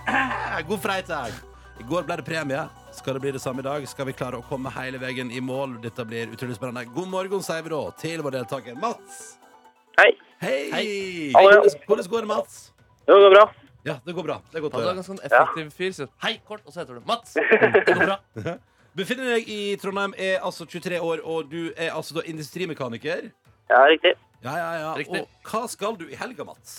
B: *clears throat* God fredag! I går ble det premie. Skal det bli det samme i dag? Skal vi klare å komme hele veien i mål? Dette blir utrolig spennende. God morgen, sier vi da til vår deltaker Mats.
I: Hei.
B: Hei!
I: Hallo.
B: Hvordan- Hvordan går det, Mats?
I: Jo, det går bra.
B: Ja, det går bra. Det er godt å
D: Han er en
B: høre.
D: ganske sånn effektiv fyr sier, Hei, kort, og så heter du *laughs* Mats Det går bra
B: Befinner deg i Trondheim, er altså 23 år, og du er altså da industrimekaniker.
I: Ja, riktig.
B: Ja, ja, ja.
D: Riktig.
B: Og hva skal du i helga, Mats?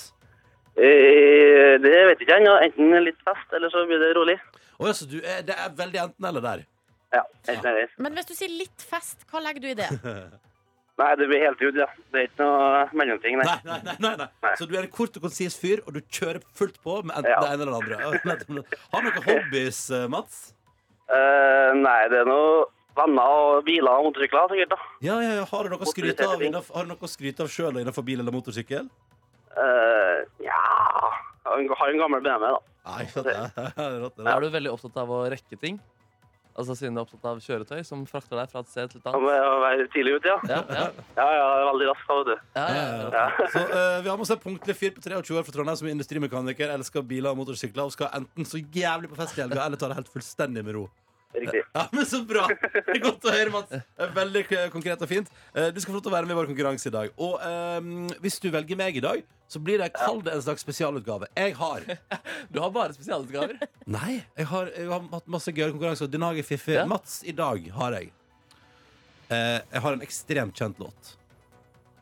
I: Eh, Det vet jeg ikke ennå. Enten litt fest, eller så blir det rolig.
B: Å, ja, så du er, det er veldig enten eller der.
I: Ja, enten eller.
C: Men hvis du sier litt fest, hva legger du i det? *laughs*
I: Nei, det blir heltid, ja. Det er ikke noe mellomting, nei.
B: Nei, nei, nei, nei, nei.
I: Nei.
B: Så du er en kort og konsis fyr, og du kjører fullt på med enten
I: Ja.
B: det ene eller det andre. Har du noen hobbies, eh, Mats?
I: Eh, nei, det er noe venner og biler og motorsykler, sikkert, da.
B: Ja, ja, ja. Har du noe å skryte av,
I: Motoriserte ting.
B: innenfor- har du noe å skryte av sjøl innenfor bil eller motorsykkel?
I: Eh, ja Jeg har en- har en gammel BMW, da.
B: Nei, det er- det er rått, det er
D: Er
B: rått.
D: du veldig opptatt av å rekke ting? Altså Siden du er opptatt av kjøretøy som frakter deg fra et sted til et
I: Om
D: annet?
I: å være tidlig ute, ja.
D: Ja, ja,
I: Ja, ja, veldig rask, da, vet du.
D: ja, ja, ja.
I: Ja.
B: Så eh, vi har med oss en punktlig fyr på 23 år fra Trondheim som er industrimekaniker, elsker biler og motorsykler og skal enten så jævlig på fest i helga eller ta det helt fullstendig med ro.
I: Riktig.
B: *laughs* Ja, men Så bra! Det er Godt å høre, Mats. Eh, Veldig k- konkret og fint. Eh, Du skal få lov til å være med i vår konkurranse i dag. Og eh, hvis du velger meg i dag, så blir det kall det en slags spesialutgave. Jeg har
D: Du har bare spesialutgaver.
B: Nei, jeg har, jeg har hatt masse gøyere konkurranser. Din Hage Fiffi.
D: Ja.
B: Mats, i dag har jeg eh, Jeg har en ekstremt kjent låt.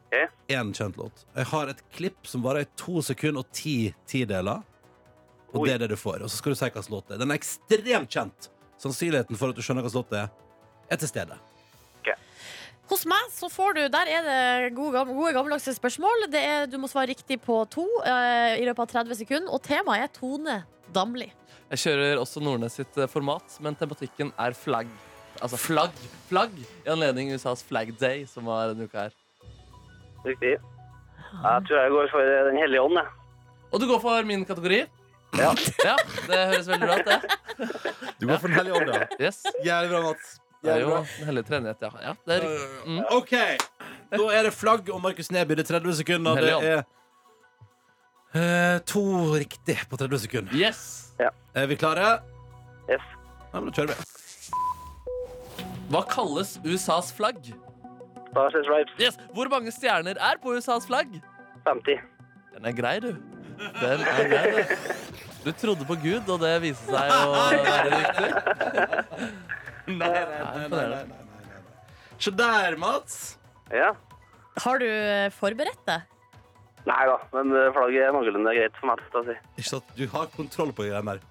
I: Ok.
B: Én kjent låt. Jeg har et klipp som varer i to sekunder og ti tideler. Og
I: Oi.
B: det er det du får. Og så skal du si hvilken låt det er. Den er ekstremt kjent. Sannsynligheten for at du skjønner hvilken låt det er, er til stede.
C: Hos meg så får du, der er det gode, gam- gode gammeldagse spørsmål. Det er, du må svare riktig på to eh, i løpet av 30 sekunder. Og temaet er Tone Damli.
D: Jeg kjører også Nordnes sitt eh, format, men tematikken er flagg. Altså flagg, flagg, i anledning USAs Flag Day, som var denne uka her.
I: Riktig. Jeg tror jeg går for Den hellige ånd, jeg.
D: Og du går for min kategori? Ja. det høres veldig bra ut, det.
B: Du går for Den hellige ånd, ja.
D: Yes.
B: Jævlig bra, Mats.
D: Det er jo den hellige treenighet, ja. ja. Det er riktig. Mm.
B: OK. Da er det flagg og Markus Neby. Det er 30 sekunder. Det
D: Hellig
B: er eh, to riktig på 30 sekunder.
D: Yes!
B: Er vi klare?
I: Yes.
B: Ja, men da kjører vi.
D: Hva kalles USAs flagg?
I: Stars and Stripes
D: Yes! Hvor mange stjerner er på USAs flagg?
I: 50.
D: Den er grei, du. Den er grei, du. Du trodde på Gud, og det viste seg å være riktig.
B: Nei, nei, nei, nei, nei, Se der, Mats.
I: Ja.
C: Har du eh, forberedt deg?
I: Nei da, men eh, flagget er noenlunde greit for meg. skal jeg si.
B: Ikke sant? Du har kontroll på greiene der.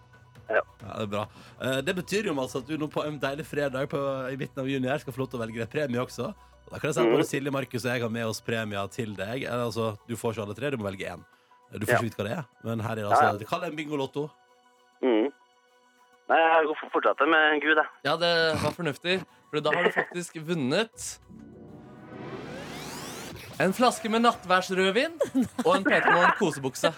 I: Ja.
B: det er bra. Eh, Det betyr jo Mats, at du nå på en deilig fredag på, i midten av juni her skal få lov til å velge deg premie også. Og da kan jeg si at
I: Mhm.
B: både Silje, Markus og jeg har med oss premier til deg. Eh, Altså, du får ikke alle tre, du må velge én. Du får
I: Ja.
B: ikke vite hva det er, men her er det
I: Ja, ja.
B: altså Kall det en bingolotto.
I: Mm. Nei, jeg går for- fortsetter med Gud, jeg.
D: Ja, det var fornuftig, for da har du faktisk vunnet en flaske med nattværsrødvin og en Petermoren kosebukse.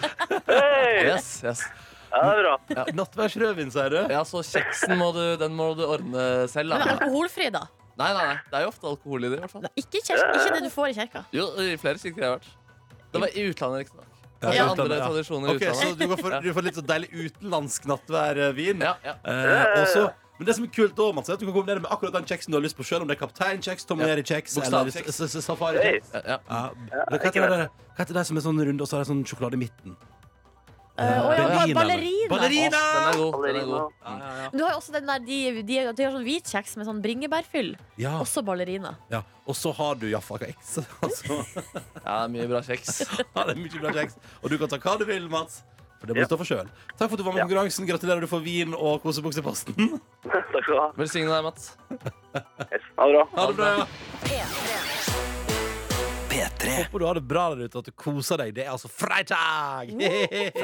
I: Hey!
D: Yes, yes.
I: Ja, det er bra. *laughs*
B: Nattværsrødvin, sier du?
D: Ja, så kjeksen må du, den må du ordne selv.
C: Men
D: Da.
C: alkoholfri, da.
D: Nei, nei, nei, det er jo ofte alkohol i det. i hvert fall.
C: Ikke, kjer- ikke det du får i kirka.
D: Jo, i flere kirker har jeg vært. Det var i utlandet, riktignok.
B: Ja,
D: Ja,
B: i utlandet,
D: andre
B: ja.
D: tradisjoner i
B: Ok, så
D: utlandet.
B: du går for, du får litt så deilig utenlandsk nattværvin.
D: Ja, ja.
B: Eh, også, men det som er kult da, Mats, er at du kan kombinere med akkurat den kjeksen du har lyst på selv om det er kapteinkjeks, Tom
D: Ja.
B: Jerry-kjeks eller
D: Bokstavkjeks.
B: s- s- safari-kjeks.
I: Hey.
D: ja, ja.
B: Ja. Hva heter det, der- hva heter det som er sånn runde, og så er det sånn sjokolade i midten?
C: Eh, og ja,
B: Berliner.
C: ballerina.
B: Ballerina!
D: Den er god. Den er
I: Ballerina.
D: god.
B: Ja, ja, ja.
C: Men Du har jo også den der, de, de, de har sånn hvit kjeks med sånn bringebærfyll.
B: Ja,
C: Også ballerina.
B: ja. Og så har du Jaffa-kjeks. *laughs* Altså,
D: Ja, det er mye bra kjeks.
B: ja, det er mye bra kjeks. Og du kan ta hva du vil, Mats. For det må du
I: Ja.
B: stå for selv. Takk for at du var med i konkurransen. Gratulerer, du får vin og kosebukse i posten.
I: Takk skal du ha.
D: Velsigne deg, Mats.
I: Yes. Ha det bra.
B: Ha det bra.
A: P3.
B: *laughs* Håper du har det bra der ute, at du koser deg. Det er altså fredag!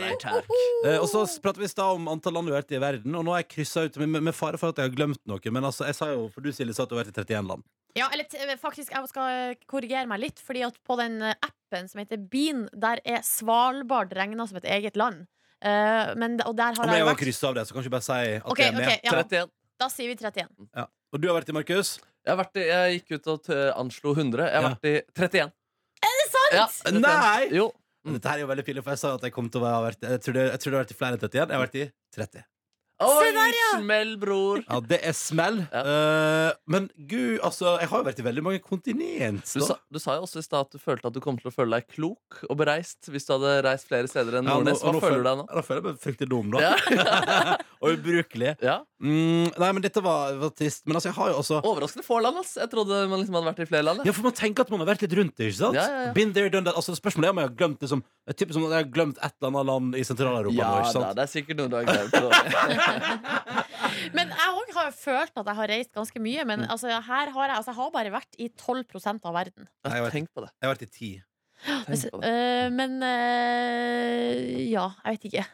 B: Eh, og så prater vi i stad om antall land du har vært i i verden, og nå har jeg kryssa ut med, med- med fare for at jeg har glemt noe. Men altså, jeg sa jo, for du Silje, sa at du har vært i 31 land.
C: Ja, eller t- eh, faktisk, jeg skal korrigere meg litt, fordi at på den eh, appen som heter Bean, der er Svalbard regna som et eget land. Eh, men, og der har
B: Om
C: jeg
B: jeg
C: jo
B: har
C: vært
B: kryssa av det, så kan du ikke bare si at
C: Ok,
B: jeg er med.
C: ok, ja.
D: 31.
C: Da sier vi 31.
B: Ja. Og du har vært i, Markus?
D: Jeg, har vært i, jeg gikk ut og t- anslo 100. Jeg har
B: Ja.
D: vært i 31.
C: Sant?
D: Ja,
B: Eh, Nei!
D: Jo. Mm.
B: Dette her er jo veldig pinlig, for jeg sa at jeg kom til å være- ha vært Jeg trodde jeg trodde jeg har vært i flere enn 31. Jeg har vært i 30.
D: Oi, smell, bror!
B: Ja, det er smell.
D: Ja.
B: Eh, men gud, altså, jeg har jo vært i veldig mange kontinent.
D: Du
B: da.
D: sa, du sa jo også i stad at du følte at du kom til å føle deg klok og bereist hvis du hadde reist flere steder enn
B: Ja, nå-
D: Nordnes. Hva
B: og nå
D: føler du deg nå?
B: Ja, Da føler jeg meg fryktelig dum, da.
D: Ja.
B: *laughs* Og ubrukelig.
D: ja.
B: Mm, nei, men dette var, var trist. Men altså, jeg har jo også
D: Overraskende få land, ass. Jeg trodde man liksom hadde vært i flere land. jeg.
B: ja, for Man tenker at man har vært litt rundt det. ikke sant?
D: Ja, ja, ja.
B: Been there, done that. Altså, Spørsmålet er om jeg har glemt det som, det er typisk som at jeg har glemt et eller annet land i Sentral-Europa. nå,
D: Ja,
B: ikke
D: da,
B: sant? *laughs*
D: det er sikkert noe du har glemt.
C: Men jeg òg har følt at jeg har reist ganske mye. Men altså, ja, her har jeg, altså, jeg har bare vært i 12 av verden.
B: Nei, jeg vet-
D: Tenk på det.
B: Jeg har vært i ti.
D: Tenk på det.
C: Eh, men eh, ja, jeg vet ikke.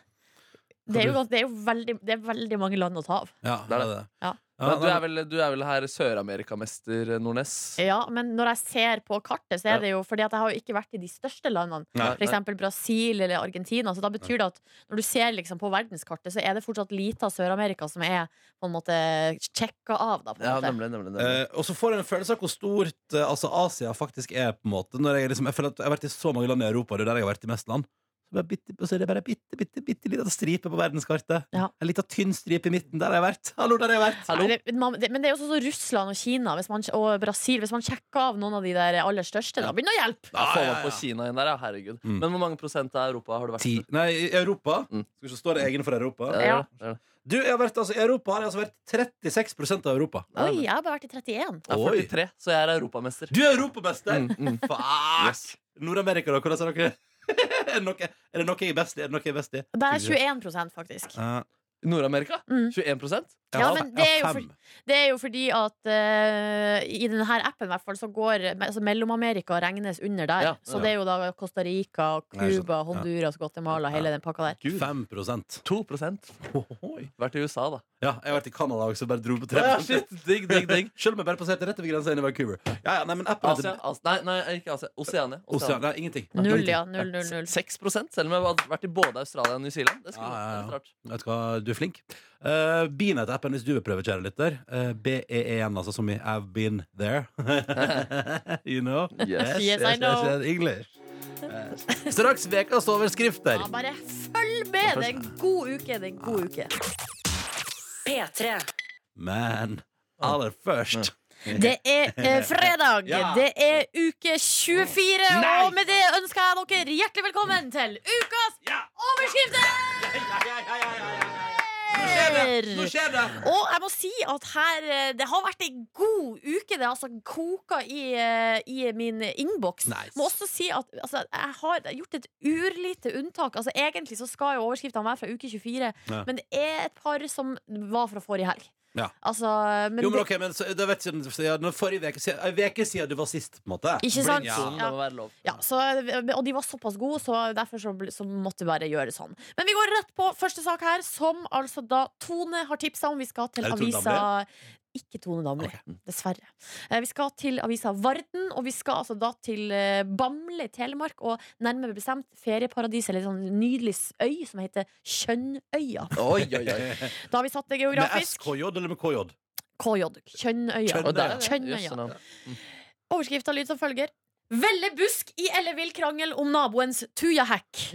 C: Det er jo, gans- det er jo veldig, det er veldig mange land å ta av.
B: Ja,
D: Det er
B: det er det.
C: Ja.
D: Men du,
B: nei,
D: er vel, du er vel her Sør-Amerikamester eh, Nordnes?
C: Ja, Men når jeg ser på kartet, så
D: Ja.
C: er det jo fordi at jeg har jo ikke vært i de største landene.
B: Nei.
C: For eksempel Brasil eller Argentina. Så da betyr det at når du ser liksom på verdenskartet, så er det fortsatt lite av Sør-Amerika som er på en måte sjekka av. Da, på
D: Ja,
C: en måte.
D: nemlig, nemlig, nemlig.
B: Eh, og så får jeg en følelse av hvor stort eh, altså Asia faktisk er. på en måte Når Jeg liksom, jeg føler at jeg har vært i så mange land i Europa, det er der jeg har vært i mest land. Så, bare bitte, og så er det bare bitte, bitte, bitte lita stripe på verdenskartet.
C: Ja.
B: En lita tynn stripe i midten. Der har jeg vært! *laughs* Hallo, der har jeg vært!
D: Hallo?
C: Eller, man- det- Men det er jo også sånn Russland og Kina hvis man, og Brasil. Hvis man sjekker av noen av de der aller største, da begynner det å hjelpe!
D: Ja,
B: Ja,
D: Få
B: ja,
D: meg på
B: ja.
D: Kina igjen der, ja. Herregud.
B: Mm.
D: Men hvor mange prosent av Europa har du vært
B: Ti.
D: i?
B: Nei, i Europa.
D: Mm.
B: Skal ikke stå det egen for Europa.
D: Ja, det
C: Ja.
D: er det, det er det.
B: Du, jeg har vært, altså, I Europa har jeg altså vært 36 av Europa.
D: Nei,
C: Oi,
D: men-
C: jeg har bare vært i 31.
D: Jeg
B: Oi.
D: er 43, så jeg er europamester.
B: Du er europamester!
D: Mm, mm.
B: Fuck!
D: Yes.
B: Nord-Amerika, da? Hvordan er dere? *laughs* er, det noe, er det noe jeg er best i? Er det noe jeg er best i?
D: Eh,
C: Det er 21 faktisk.
B: Eh,
D: Nord-Amerika?
C: Mm.
D: 21
B: jeg
C: Ja,
B: har-
C: men
B: jeg har
C: det er jo
B: fem.
C: for- Det er jo fordi at eh, i denne her appen i hvert fall, så går altså, Mellom-Amerika regnes under der.
D: Ja,
C: Så
D: ja.
C: det er jo da Costa Rica,
B: Nei, jeg skjønner.
C: Cuba, Honduras, Guatemala, hele den pakka der.
D: Gud.
B: 5 prosent.
D: 2 Vært i USA, da.
B: Ja, jeg har vært i Canada også, bare dro på tre
D: Ja, shit,
B: *laughs*
D: digg, digg, digg
B: Selv om jeg bare passerte rett over grensa inn i Vancouver. Ja, ja, nei, men appen
D: *laughs* Asia, As nei, nei, ikke Asia. Oseania.
B: Osean, nei, ingenting.
C: Null,
B: Ingenting.
C: ja. Null, null, null.
D: 6 selv om jeg har vært i både Australia og New Zealand. Det skulle
B: Ja, ja, ja.
D: vært rart.
B: Vet du hva, du er flink. Uh, Beanet appen hvis du vil prøve, kjære lytter. Eh, B-E-E-N, altså, som i I've been there. *laughs* you know?
D: Yes.
C: Yes, I know.
B: yes, English. Eh, Straks ukas overskrifter.
C: Ja, bare følg med! Det er en god uke. Det er en god uke.
A: P3.
B: Men aller først
C: Det er
B: *laughs*
C: eh, fredag.
B: Ja.
C: Det er uke 24.
B: Nei!
C: Og med det ønsker jeg dere hjertelig velkommen til ukas overskrifter!
B: Nå skjer det!
C: Og jeg må si at her eh, Det har vært ei god uke. Det har altså koka i, eh, i min innboks.
B: Nice.
C: Må også si at altså, jeg har gjort et urlite unntak. Altså Egentlig så skal jo overskriftene være fra uke 24,
B: Ja.
C: men det er et par som var fra forrige helg.
B: Ja.
C: Altså, men
B: Jo, men
C: det-
B: ok, men så, da vet jeg, så, ja, nå forrige veke siden, en veke siden du var sist, på en måte.
C: Ikke sant?
B: Ja.
D: Sånn, det må være lov.
C: Ja, så, og de var såpass gode, så derfor så, ble- så måtte vi bare gjøre det sånn. Men vi går rett på første sak her, som altså da Tone har tipsa om. Vi skal til
B: Er det Tone Mm.
C: avisa Ikke Tone Damli, dessverre. Eh, Vi skal til avisa Varden, og vi skal altså da til eh, Bamble i Telemark, og nærmere bestemt ferieparadiset, eller sånn nydelig s- øy som heter Kjønnøya.
D: Oi, oi, oi.
C: Da har vi satt det
B: Med
C: geografisk.
B: SKJ eller med KJ?
C: KJ. Kjønnøya.
D: Og der,
C: Kjønnøya.
D: jøsse navn.
C: Overskrifta lyd som følger. Velle busk i ellevill krangel om naboens tujahekk.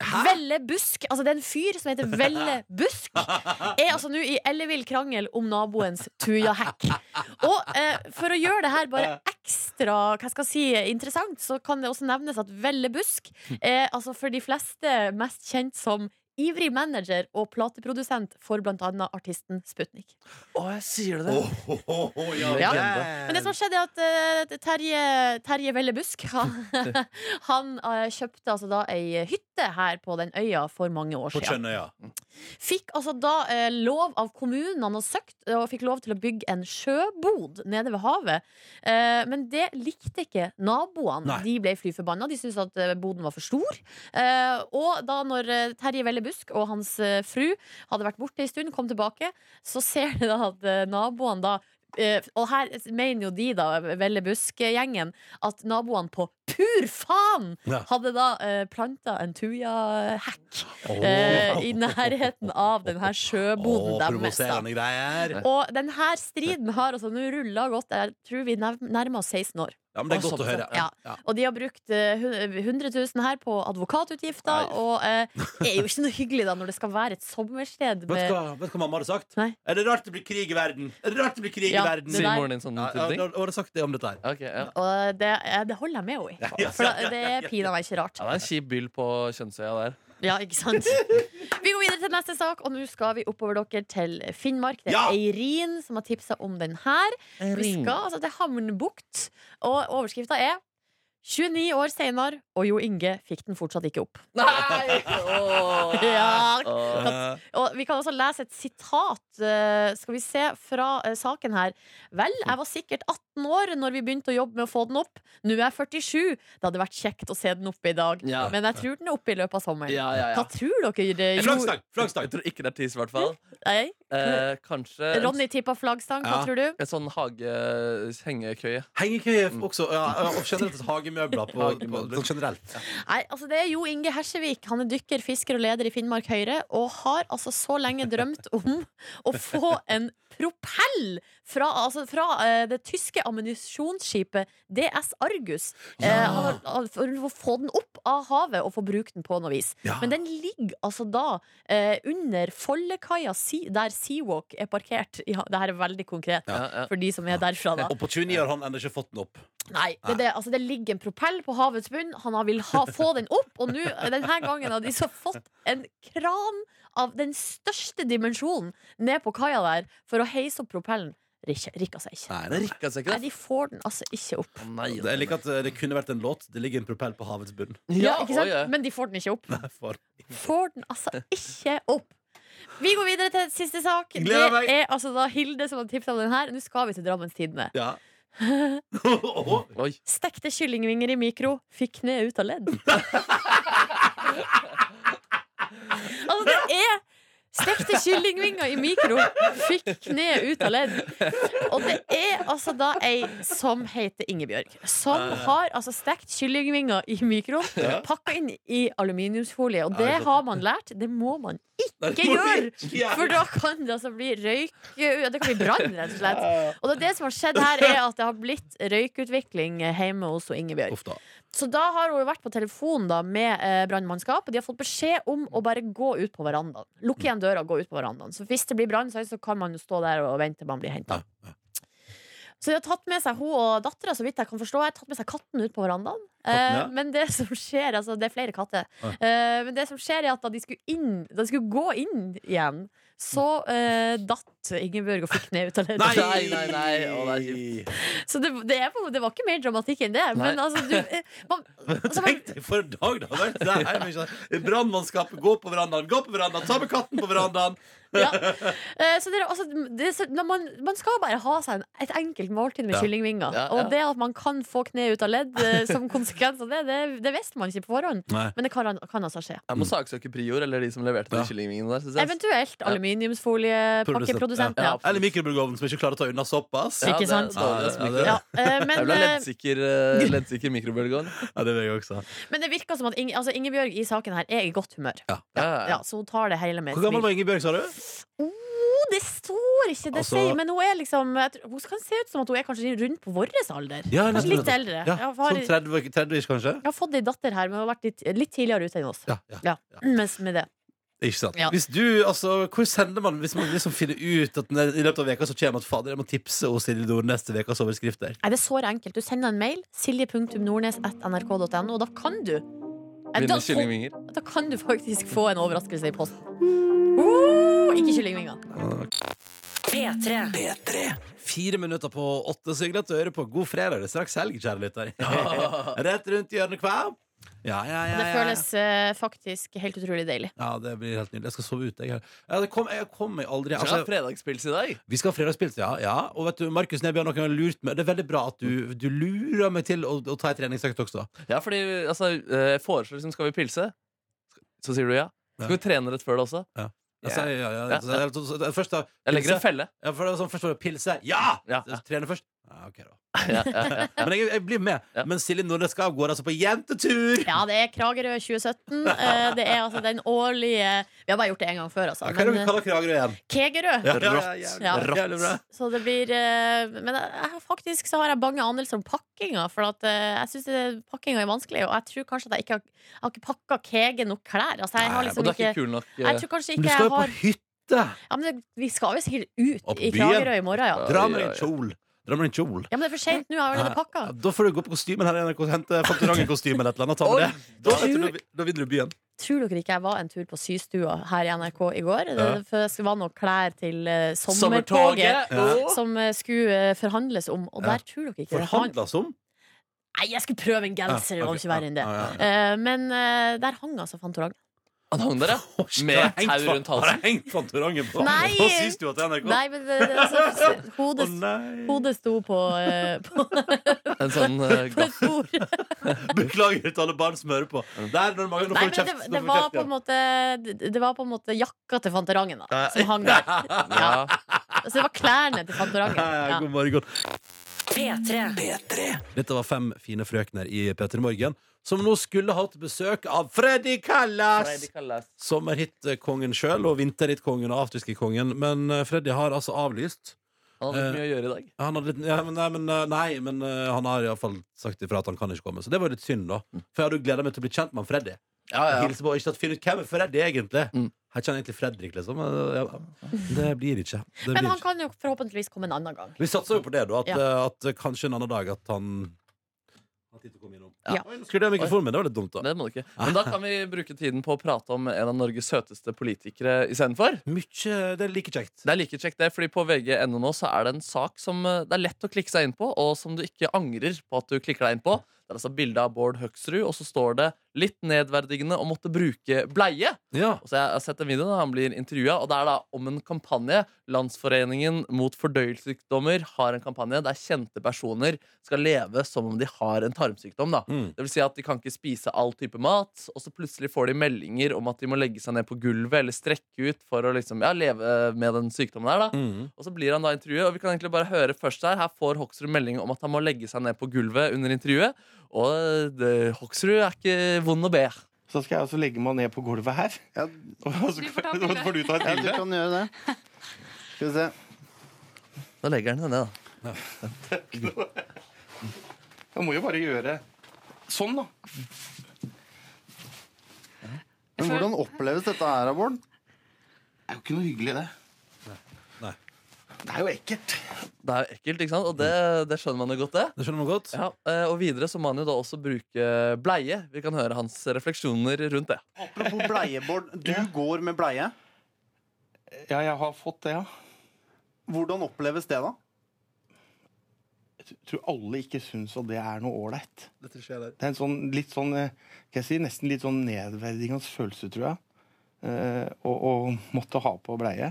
C: Velle Busk, altså det er en fyr som heter Velle Busk, er altså nå i ellevill krangel om naboens tujahekk. Og eh, for å gjøre det her bare ekstra hva skal jeg si, interessant, så kan det også nevnes at Velle Busk er altså for de fleste mest kjent som ivrig manager og plateprodusent for bl.a. artisten Sputnik.
D: Å, jeg sier det.
B: ja,
C: Ja.
B: legende.
C: Men det som har skjedd er at eh, Terje, Terje Velle Busk Han, *laughs* han eh, kjøpte altså da ei hytte her på den øya for mange år
B: På
C: siden.
B: Kjønnøya.
C: Fikk altså da eh, lov av kommunen han har søkt, eh, og fikk lov til å bygge en sjøbod nede ved havet. Eh, men det likte ikke naboene.
B: Nei.
C: De ble fly forbanna. De syntes at eh, boden var for stor. Eh, og da når eh, Terje Velle Busk og hans eh, fru hadde vært borte en stund, kom tilbake, så ser du da at eh, naboene da eh, og her mener jo de, da, Velle Busk-gjengen, at naboene på pur faen
B: Ja.
C: hadde da eh, planta en tujahekk eh, i nærheten av den her
B: Å,
C: sjøboden deres. da.
B: provoserende greier.
C: Og den her striden har altså nå rulla godt. Jeg tror vi nær- nærmer oss 16 år.
B: Ja, men det er
D: Å,
B: godt å høre.
C: Ja. Og de har brukt eh, hun- 100 000 her på advokatutgifter,
D: Nei.
C: og eh, er jo ikke noe hyggelig da når det skal være et sommersted
B: Vet du
C: med
B: hva, vet du hva mamma hadde sagt?
C: Nei.
B: Er det rart det blir krig i verden? Er det rart det blir krig
C: Ja,
B: i verden?
C: det
D: Sier
C: der-
D: moren din sånne
B: Ja, ja,
D: type ting?
B: da- da har du sagt det om dette her.
D: Ok, ja.
C: Og det, eh, det holder jeg med henne i. For da- det er pinadø ikke rart.
D: Ja, det er en kjip byll på Kjønnsøya der.
C: Ja, ikke sant? Vi går videre til neste sak, og nå skal vi oppover dere til Finnmark. Det er
B: Ja!
C: Eirin som har tipsa om den her. Vi skal altså til Hamnbukt, og overskrifta er 29 år senere, og Jo Inge fikk den fortsatt ikke opp.
D: Nei! Åh.
C: Ja,
F: Åh.
C: *laughs* Og vi kan også lese et sitat eh, Skal vi se fra eh, saken her Vel, jeg var sikkert 18 år Når vi begynte å jobbe med å få den opp Nå er jeg 47 Det hadde vært kjekt å se den oppe i dag
D: Ja.
C: Men jeg tror den er oppe i løpet av sommeren
D: Ja, ja, ja.
C: Hva tror dere?
B: En
C: Jo-
B: Flaggstang! flaggstang.
D: Jeg tror ikke det er tis, i hvert fall.
C: Nei.
D: Eh, kanskje en-
C: Ronny tippa flaggstang, hva
B: Ja.
C: tror du?
D: en sånn hage-hengekøye.
B: Hengekøye f- også. Ja, ja, og generelt hagemøbler. På, på,
D: Hagemøbler.
B: sånn generelt.
C: Nei, altså det er Jo Inge Hersevik Han er dykker, fisker og leder i Finnmark Høyre Og har altså så lenge drømt om Å få en propell Fra, altså fra eh, det tyske ammunisjonsskipet DS Argus eh, han har- For å få den opp av havet Og få brukt den på noe vis
B: Ja.
C: Men den ligger altså da eh, Under Follekaia si, Der Seawalk er parkert ja, Det her er veldig konkret
D: Ja, ja.
C: for de som er derfra da
B: Og på 29 år har han ennå ikke fått den opp.
C: Nei, det, er det, altså det ligger en propell på havets bunn. Han har vil ha, få den opp, og nå, denne gangen har de så fått en kran av den største dimensjonen ned på kaia der for å heise opp propellen. Rikka, rikka seg ikke.
B: Nei, det er riktig.
D: Kan jeg se ikke
C: Nei,
D: det?
C: de får den altså ikke opp.
D: Nei,
B: Det- Jeg liker at eh, det kunne vært en låt. Det ligger en propell på havets bunn. *laughs*
C: Ja, ikke sant?
D: oi, oi.
C: Men de får den ikke opp.
B: For
C: Får den altså ikke opp. Vi går videre til siste sak.
B: Gleder meg.
C: Det er altså da Hilde som har tipsa om den her. Nå skal vi til Drammens Tidende.
B: Ja.
D: Oi.
C: Stekte kyllingvinger i mikro. Fikk kneet ut av ledd. altså, det er Stekte kyllingvinger i mikro. Fikk kneet ut av ledd. Og det er altså da ei som heter Ingebjørg, som har altså stekt kyllingvinger i mikro, pakka inn i aluminiumsfolie. Og det har man lært. Det må man ikke gjøre! For da kan det altså bli røyk Det kan bli brann, rett og slett. Og det, er det som har skjedd her, er at det har blitt røykutvikling hjemme hos Ingebjørg.
B: Uff da.
C: Så da har hun jo vært på telefon da med eh, brannmannskap, og de har fått beskjed om å bare gå ut på verandaen. Lukke igjen døra og gå ut på verandaen. Så hvis det blir brann, så kan man jo stå der og vente til man blir henta. Så de har tatt med seg hun og dattera, så vidt jeg kan forstå. Jeg har tatt med seg katten ut på verandaen.
B: Katten, ja.
C: Eh, men det som skjer, altså det er flere katter, eh, men det som skjer er at da de skulle, inn, da de skulle gå inn igjen, så eh, datt Ingebjørg og fikk kne ut av
D: Nei,
C: leddet.
D: nei, nei. Å, det er kjipt.
C: Så det, det, er, på- det var ikke mer dramatikk enn det.
D: Nei.
C: Men altså, du eh, man, altså,
B: *laughs*
C: man,
B: Tenk deg for en dag det sånn, har vært der hjemme. ikke sant? Brannmannskapet går på verandaen, går på verandaen, ta med katten på verandaen.
C: ja. Eh, så dere, altså, det, er så, når man, man skal bare ha seg en, et enkelt måltid med
B: Ja.
C: kyllingvinger.
D: Ja, ja.
C: Og det at man kan få kne ut av ledd eh,
B: *laughs*
C: som konsekvens av det, det, det visste man ikke på forhånd.
B: Nei.
C: Men det kan, kan altså skje.
D: Jeg må saksøke Prior eller de som leverte de
B: Mm. Ja.
D: kyllingvingene der. synes jeg.
C: Eventuelt aluminiumsfoliepakkeprodusen.
B: Ja.
C: Ja.
B: Eller mikrobølgeovnen som ikke klarer å ta unna såpass.
C: Ja. Ikke
D: det er
C: sant?
D: dårlig å smykke.
B: Ja,
C: Ja, eh,
B: *laughs*
D: Jeg
C: men,
D: ble
C: eh,
D: leddsikker,
C: *laughs*
D: eh, leddsikker mikrobølgeovn.
B: Ja, det vil jeg også.
C: men det virker som at Inge, altså Ingebjørg i saken her er i godt humør.
D: Ja, ja.
C: Ja, så hun tar det hele med et
B: Hvor gammel
C: smil.
B: var Ingebjørg, sa du?
C: Oh, det står ikke! Det
B: Altså-
C: sier, men hun er liksom jeg tror- Hun kan se ut som at hun er kanskje rundt på vår alder.
B: Ja,
C: Kanskje litt eldre.
B: Ja,
C: Jeg har,
B: sånn
C: jeg
B: 30 30-ish, kanskje?
C: har fått ei datter her, men hun har vært litt, litt tidligere ute enn oss.
B: Ja, ja.
C: Ja, mens med det
B: Ikke sant?
C: Ja.
B: Hvis du, altså, hvor sender man hvis man liksom finner ut at den er- i løpet av veka så kommer at fader, jeg må tipse hos Silje Nord neste ukas overskrifter?
C: Nei, det er så enkelt. Du sender en mail. Silje.nordnes.nrk.no, og da kan du Nei, da,
D: Mine kyllingvinger.
C: da kan du faktisk få en overraskelse i posten. Oh, ikke kyllingvinger.
A: P3.
B: Fire minutter på åtte, så hyggelig at du hører på. God fredag. Det er straks helg, kjære lytter. *laughs* Rett rundt hjørnet hver. Ja, ja, ja,
C: Det
B: ja, ja.
C: føles eh, faktisk helt utrolig deilig.
B: ja, det blir helt nydelig. Jeg skal sove ute, jeg. her. Ja, det kom, jeg kommer aldri
D: Skal ha
B: altså,
D: fredagspils i dag.
B: Vi skal ha fredagspils, ja. ja. Og vet du, Markus Neby har noen gang lurt meg. Det er veldig bra at du, du lurer meg til å, å ta en treningsøkt også.
D: Ja, fordi altså, eh, jeg foreslår liksom Skal vi pilse? Så sier du ja. Skal vi trene rett før det også?
B: Altså, ja, ja,
D: Ja.
B: ja. Så, så, så, så, først da
D: Jeg legger en
B: pilse. *laughs*
D: felle.
B: Ja, for det var sånn, først var det pilse. Ja!
D: Ja.
B: Så Trene først. Ja, ok da.
D: Ja, ja, ja.
B: Men jeg, jeg blir med.
D: Ja.
B: Men Silje Nordnes skal av gårde altså på jentetur!
C: Ja, det er Kragerø 2017. Eh, det er altså den årlige Vi har bare gjort det én gang før, altså.
B: Ja, hva er det
C: Men
B: vi
C: eh,
B: kaller Kragerø igjen?
C: Kegerø. Ja.
B: Jævlig bra.
C: Så det blir eh, Men jeg, jeg, faktisk så har jeg bange anelser om pakkinga. For at, eh, jeg syns pakkinga er vanskelig, og jeg tror kanskje at jeg ikke har, jeg har ikke pakka Kege nok klær. Altså, jeg har
D: Og
C: liksom
D: du er
C: ikke
D: ikke kul nok. eh,
C: jeg tror kanskje
B: Men du
C: ikke
B: skal
C: jeg
B: jo på
C: har
B: hytte!
C: ja, men det, Vi skal jo sikkert ut
B: Opp
C: i
B: byen.
C: Kragerø i morgen, ja.
D: Ja.
B: Dra med deg en kjol. Dra med deg en kjol.
C: Ja, Men det er for seint nå. Jeg har allerede pakka.
B: Ja, Da får du gå på kostymen her i NRK og hente Fantorangen-kostyme eller et eller annet. Ta med det. Da, vet du, da- da vinner du byen.
C: Tror dere ikke jeg var en tur på systua her i NRK i går?
B: Ja.
C: Det- For det var noen klær til eh, sommertoget.
D: Sommertoget. Åh.
C: som eh, skulle eh, forhandles om. Og
B: Ja.
C: der tror dere ikke det er han-
B: Forhandla som.
C: Nei, jeg skulle prøve en genser. det var jo ikke verre enn det. Eh, men eh, der hang altså Fantorangen.
D: Han hang der, ja. Med tau rundt
B: Har
D: halsen.
B: jeg hengt Fantorangen på?
C: Nei!
B: Hva sies du til NRK?
C: Nei, men det, det, altså, hodet,
B: *laughs* Å, nei.
C: hodet sto på, eh, *laughs* på,
D: En sånn eh,
C: på et bord.
B: Beklager til alle barn som hører på. Der, når mange, nå
C: Nei,
B: får
C: men
B: du
C: det,
B: kjeft. nå
C: det,
B: får du
C: var
B: kjeft
C: på
B: igjen.
C: en måte, det det var på en måte jakka til Fantorangen da,
B: Nei.
C: som hang
B: *laughs*
C: der. Ja.
D: Ja.
C: Så det var klærne til Fantorangen.
B: Ja,
C: Ja.
B: God morgen.
A: P3.
B: Dette var fem fine frøkner i P3 Morgen, som nå skulle hatt besøk av Freddy Kallas! Sommerhitkongen sjøl og vinterhitkongen og afterski-kongen. Men eh, Freddy har altså avlyst.
D: Han hadde litt mye å gjøre i dag.
B: Han hadde, litt- ja, men, nei, men, eh, nei, men eh, han har iallfall sagt ifra at han kan ikke komme. Så det var litt synd, da. For jeg hadde jo gleda meg til å bli kjent med han Freddy.
D: Mm. Ja,
B: Og
D: ja.
B: hilse på, og ikke tatt finne ut hvem er Freddy egentlig.
D: Mm.
B: Jeg kjenner egentlig Fredrik, liksom. men, ja, Det blir ikke. Det
C: Men
B: blir
C: han
B: ikke.
C: kan jo forhåpentligvis komme en annen gang.
B: Vi satser jo på det, da. At,
C: Ja.
B: eh, at kanskje en annen dag at han har tid til å komme innom.
C: Ja.
B: Oi, nå skrudde jeg av mikrofonen min. Det var litt dumt, da.
D: Det må du ikke. Men da kan vi bruke tiden på å prate om en av Norges søteste politikere istedenfor.
B: Mye, det er like kjekt.
D: Det er like kjekt, det, fordi på vg.no nå så er det en sak som eh, det er lett å klikke seg inn på, og som du ikke angrer på at du klikker deg inn på. Det er altså bilde av Bård Høksrud, og så står det litt nedverdigende å måtte bruke bleie.
B: Ja.
D: Og så jeg har sett en video når han blir intervjua, og det er da om en kampanje. Landsforeningen mot fordøyelsessykdommer har en kampanje der kjente personer skal leve som om de har en tarmsykdom. da.
B: Mm.
D: Det vil si at de kan ikke spise all type mat, og så plutselig får de meldinger om at de må legge seg ned på gulvet eller strekke ut for å liksom, ja, leve med den sykdommen der. da.
B: Mm.
D: Og så blir han da intervjuet, og vi kan egentlig bare høre først her. Her får Hoksrud melding om at han må legge seg ned på gulvet under intervjuet. Og det, Hoksrud er ikke vond å be.
G: Så skal jeg altså legge meg ned på gulvet her. *laughs* Og så får du ta et bilde. Ja, du kan gjøre det. Skal vi se.
D: Da legger han seg ned, da.
G: Jeg må jo bare gjøre sånn, da. Men hvordan oppleves dette her, Bård? Det er jo ikke noe hyggelig, det.
B: Nei.
G: Det er jo ekkelt.
D: Det er jo ekkelt, ikke sant? Og det, det skjønner man jo godt, det.
B: Det skjønner man godt.
D: Mm. Ja, eh, Og videre så må han jo da også bruke bleie. Vi kan høre hans refleksjoner rundt det.
G: Apropos bleie, Bård. Du går med bleie. Ja, jeg har fått det, ja. Hvordan oppleves det, da? Jeg tror alle ikke syns at det er noe ålreit. Det er en sånn litt sånn eh, Skal jeg si nesten litt sånn nedverdigende følelse, tror jeg. Eh, Å å måtte ha på bleie.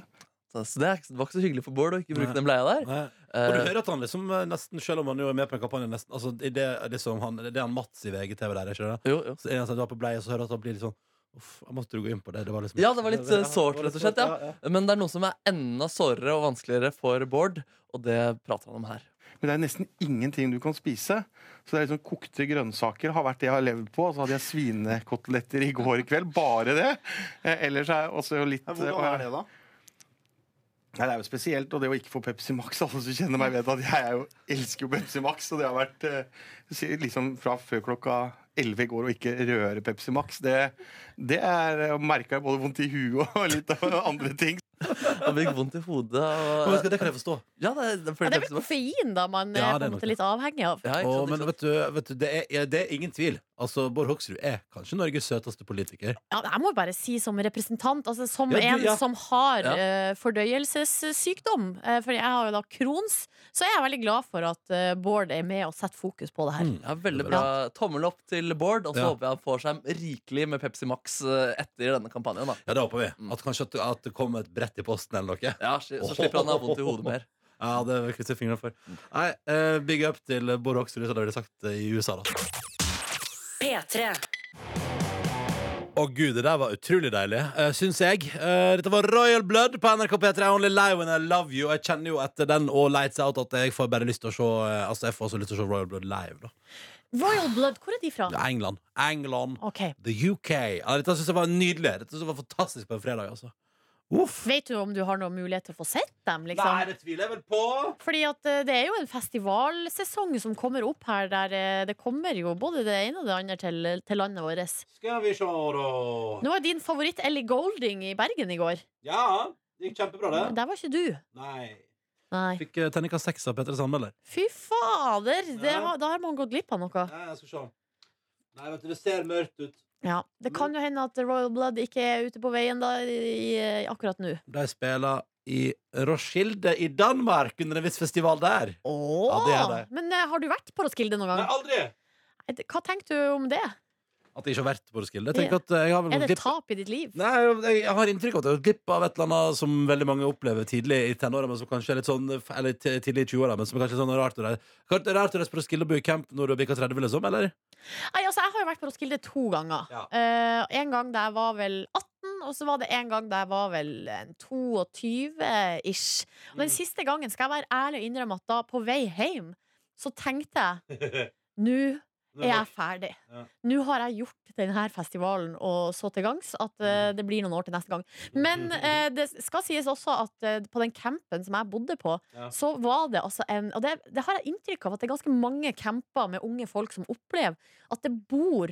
D: Så så det er ikke- det var ikke så hyggelig for Bård å ikke bruke den bleia der.
B: Nei. Og du
D: Eh,
B: hører at han liksom eh, nesten, selv om han jo er med på en kampanje nesten, altså, i det, det, som han, det er han Mats i VGTV der, ikke det?
D: jo, jo.
B: Så er han sånn, du har på bleie, så hører jeg at han blir litt sånn Uff, jeg måtte jo gå inn på det. Det var liksom
D: Ja, det var litt eh, sårt, rett og slett.
B: Ja,
D: ja Men det er noe som er enda sårere og vanskeligere for Bård, og det prater han om her.
G: Men det er nesten ingenting du kan spise. Så det er liksom Kokte grønnsaker har vært det jeg har levd på. Og så hadde jeg svinekoteletter i går kveld. Bare det. Eh, Ellers er jeg også litt eh, Hvordan er det, da? Nei, Det er jo spesielt, og det å ikke få Pepsi Max Alle som kjenner meg, vet at jeg er jo, elsker jo Pepsi Max. Og det har vært eh, si- liksom fra før klokka 11 i går å ikke røre Pepsi Max. Det, det er merka jeg både vondt i huet og *laughs* litt av andre ting.
D: Han fikk vondt i hodet.
B: Men vet
D: Og,
B: du hva, det kan jeg forstå.
D: ja, det, det,
C: Ja,
D: følte
C: det er
D: jeg
C: vel
D: som-
C: koffein da man
B: Ja, det
C: er på
B: er
C: en
B: nok
C: måte litt avhengig av.
D: ja, ikke
B: Og,
D: sant,
B: men
D: ikke sant?
B: vet du, vet du det, er, ja, det er ingen tvil. Altså, Bård Hoksrud er kanskje Norges søteste politiker.
C: Ja, jeg må bare si som representant, altså som
B: Ja, du-
C: en
B: ja.
C: som har
D: Ja.
C: eh, fordøyelsessykdom, eh, for jeg har jo da Crohns, så jeg er veldig glad for at eh, Bård er med og setter fokus på det her.
B: Mm.
D: Ja, veldig bra. Tommel opp til Bård, og så
B: Ja.
D: håper jeg han får seg rikelig med Pepsi Max eh, etter denne kampanjen. da
B: Ja, det håper vi.
D: Mm.
B: At kanskje at, at det kommer et brett i posten eller noe.
D: ja, Så så slipper han å ha vondt i hodet mer.
B: Ja, det krysser jeg fingrene for.
D: Mm.
B: Nei, eh, big up til Bård Hoksrud, som det ble sagt eh, i USA, da.
A: P3.
B: Å gud, det der var utrolig deilig, uh, syns jeg. Eh, dette var Royal Blood på NRK P3. I Only lie when I love you. Jeg kjenner jo etter den og Lights Out at jeg får bare lyst til å se eh, Altså, jeg får også lyst til å se Royal Blood live, da.
C: Royal Blood, hvor er de fra?
B: Ja, England. England.
C: Ok,
B: The UK. Ja, dette syns jeg var nydelig. Dette synes jeg var fantastisk på en fredag, altså. Uff.
C: Vet du om du har noen mulighet til å få sett dem?
B: Nei,
C: Liksom?
B: det tviler jeg vel på.
C: Fordi at eh, det er jo en festivalsesong som kommer opp her, der eh, det kommer jo både det ene og det andre til, til landet vårt.
B: Skal vi se, da.
C: Nå er din favoritt Ellie Golding i Bergen i går.
B: Ja, det gikk kjempebra,
C: Der var ikke du.
B: Nei.
C: Nei.
B: Fikk uh, terninga seks av Petter Sandmøller.
C: Fy fader! Det
B: Ja.
C: har, da har man gått glipp av noe.
B: Nei, jeg skal se. Nei, vet du, det ser mørkt ut.
C: Ja. Det kan jo hende at Royal Blood ikke er ute på veien da, i, i, akkurat nå.
B: De spiller i Roskilde i Danmark under en viss festival der.
C: Åh!
B: Ja, det er det.
C: Men eh, har du vært på Roskilde noen gang?
B: aldri!
C: Hva tenker du om det?
B: At jeg ikke har vært på Roskilde. Jeg, tenker at eh, jeg, har vel
C: Er
B: gått
C: det
B: glipp-
C: tap i ditt liv?
B: Nei, jeg, jeg har inntrykk av at jeg har gått glipp av et eller annet som veldig mange opplever tidlig i tenåra, men som kanskje er litt sånn Eller ti- tidlig i 20-åra, men som kanskje er sånn rart å reise Kanskje rart å reise på Roskilde og bo i camp når du har bikka 30, liksom? Eller?
C: Nei, altså, jeg har jo vært på Roskilde to ganger.
B: Ja.
C: Eh, en gang da jeg var vel 18, og så var det en gang da jeg var vel en 22-ish. Og den siste gangen skal jeg være ærlig og innrømme at da på vei hjem, så tenkte jeg Nå er jeg ferdig.
B: Ja.
C: Nå har jeg gjort denne festivalen og så til gangs at
B: Mm.
C: eh, det blir noen år til neste gang. Men eh, det skal sies også at eh, på den campen som jeg bodde på,
B: Ja.
C: så var det altså en Og det, det har jeg inntrykk av at det er ganske mange camper med unge folk som opplever at det bor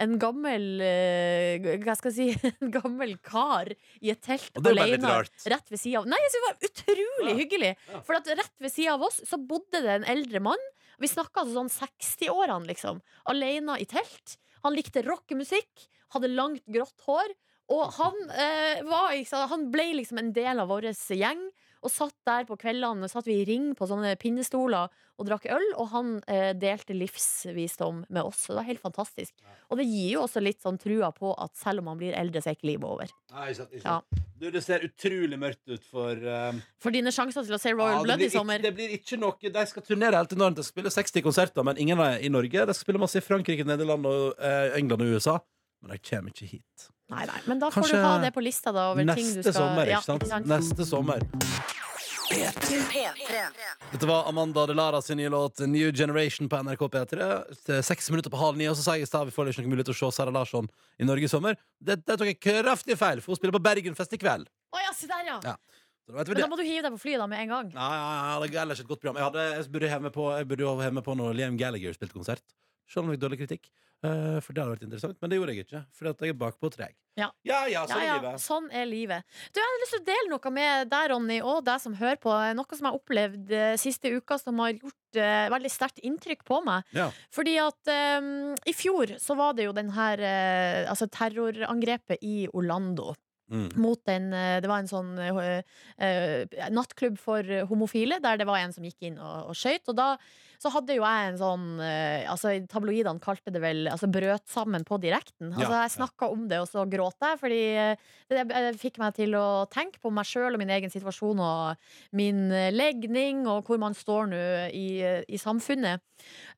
C: en gammel eh, Hva skal jeg si *laughs* En gammel kar i et telt
B: Og det er jo bare litt
C: alene
B: rart.
C: rett ved sida av Nei, jeg synes det var utrolig hyggelig!
B: Ja.
C: For at rett ved sida av oss så bodde det en eldre mann. Vi snakka altså sånn 60-årene, liksom. Alene i telt. Han likte rockemusikk, hadde langt, grått hår. Og han, eh, var, ikke sant, han ble liksom en del av vår gjeng. Og satt der på kveldene satt vi i ring på sånne pinnestoler og drakk øl. Og han eh, delte livsvisdom med oss. Så Det var helt fantastisk. Og det gir jo også litt sånn trua på at selv om man blir eldre, så er ikke livet over.
B: Nei, ikke sant, ikke
C: Ja.
B: sant. Du, det ser utrolig mørkt ut for eh,
C: For dine sjanser til å
B: ja,
C: se Royal
B: det,
C: Blood
B: blir
C: i sommer
B: ikke, det blir ikke noe De skal turnere helt enormt. De skal spille 60 konserter, men ingen er i Norge. De skal spille masse i Frankrike, Nederland, og, eh, England og USA. Men de kommer ikke hit.
C: Nei, nei, men da får
B: Kanskje
C: du ha det på lista da over ting du
B: Neste
C: skal
B: sommer,
C: Ja,
B: ikke sant? Neste sommer.
A: P3.
B: Dette var Amanda Delara sin nye låt New Generation på NRK P3. Til Seks minutter på halv ni, og så sa jeg i stad vi får liksom ikke noen mulighet til å se Sara Larsson i Norge i sommer. Det, det tok jeg kraftig feil, for hun spiller på Bergenfest i kveld.
C: Å ja, se der, ja.
B: Ja. Så da vet vi
C: Men
B: det.
C: da må du hive deg på flyet da med en gang.
B: Nei, nei, nei, det er ellers et godt program. Jeg, hadde, jeg burde heve meg på, jeg burde jo heve meg på når Liam Gallagher spilte konsert. Selv om jeg fikk dårlig kritikk. eh, for det hadde vært interessant, men det gjorde jeg ikke. Fordi at jeg er bakpå og treg.
C: Ja.
B: ja, ja, sånn
C: ja,
B: er
C: ja,
B: livet.
C: sånn er livet. Du, Jeg hadde lyst til å dele noe med deg, Ronny, og deg som hører på. Noe som jeg har opplevd eh, siste uka, som har gjort eh, veldig sterkt inntrykk på meg.
B: Ja.
C: Fordi at eh, i fjor så var det jo den her eh, altså terrorangrepet i Orlando.
B: Mm.
C: Mot en, eh, det var en sånn eh, eh, nattklubb for eh, homofile, der det var en som gikk inn og, og skøyt. Og da så hadde jo jeg en sånn eh, altså Tabloidene kalte det vel altså brøt sammen på direkten. Altså
B: Ja,
C: Jeg snakka om det, og så gråt jeg, fordi eh, det eh, fikk meg til å tenke på meg sjøl og min egen situasjon og min eh, legning, og hvor man står nå i, eh, i samfunnet.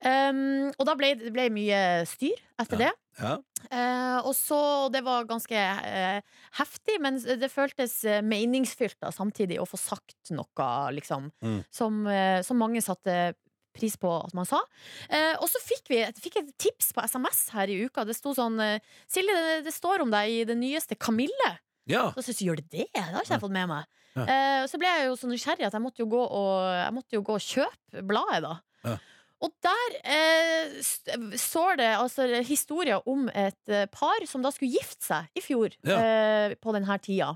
C: Um, og da ble det ble mye styr etter det.
B: Ja.
C: Eh, og så, Det var ganske eh, heftig, men det føltes eh, meningsfylt da, samtidig å få sagt noe liksom,
B: Mm.
C: som, eh, som mange satte pris på at man sa. Eh, og så fikk vi et- fikk jeg et tips på SMS her i uka. Det sto sånn eh, Silje, det, det står om deg i det nyeste Kamille.
B: ja.
C: Og så synes jeg, gjør det det? Det har ikke jeg fått med meg.
B: Ja.
C: Eh, så ble jeg jo så nysgjerrig at jeg måtte jo gå og, jeg måtte jo gå og kjøpe bladet, da.
B: Ja.
C: Og der eh, st står det altså historier om et eh, par som da skulle gifte seg i fjor
B: Ja.
C: eh, på denne tida.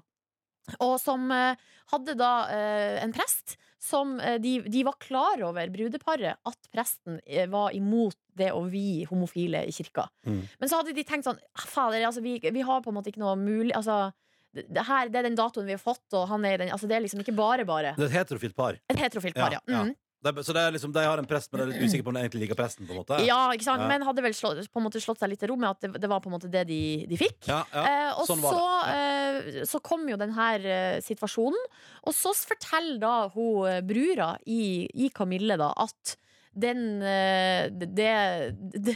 C: Og som eh, hadde da eh, en prest som eh, de, de var klar over, brudeparet, at presten eh, var imot det å vie homofile i kirka.
B: Mm.
C: Men så hadde de tenkt sånn «Ah, Fader, altså, vi, vi har på en måte ikke noe mulig altså, det, det her, det er den datoen vi har fått, og han er i den altså, Det er liksom ikke bare, bare.
B: Det er et heterofilt par.
C: Et heterofilt par, ja.
B: Ja, ja.
C: Mm.
B: De, så det er liksom, de har en prest, men de er litt usikre på om de egentlig liker presten. på en måte
C: ja ikke sant?
B: Ja.
C: Men hadde vel slått, på en måte slått seg litt til ro med at det, det var på en måte det de, de fikk.
B: Ja, ja.
C: Eh, og
B: sånn var
C: så, eh, så kom jo den her eh, situasjonen, og så forteller da hun eh, brura i, i Kamille da at den eh, det,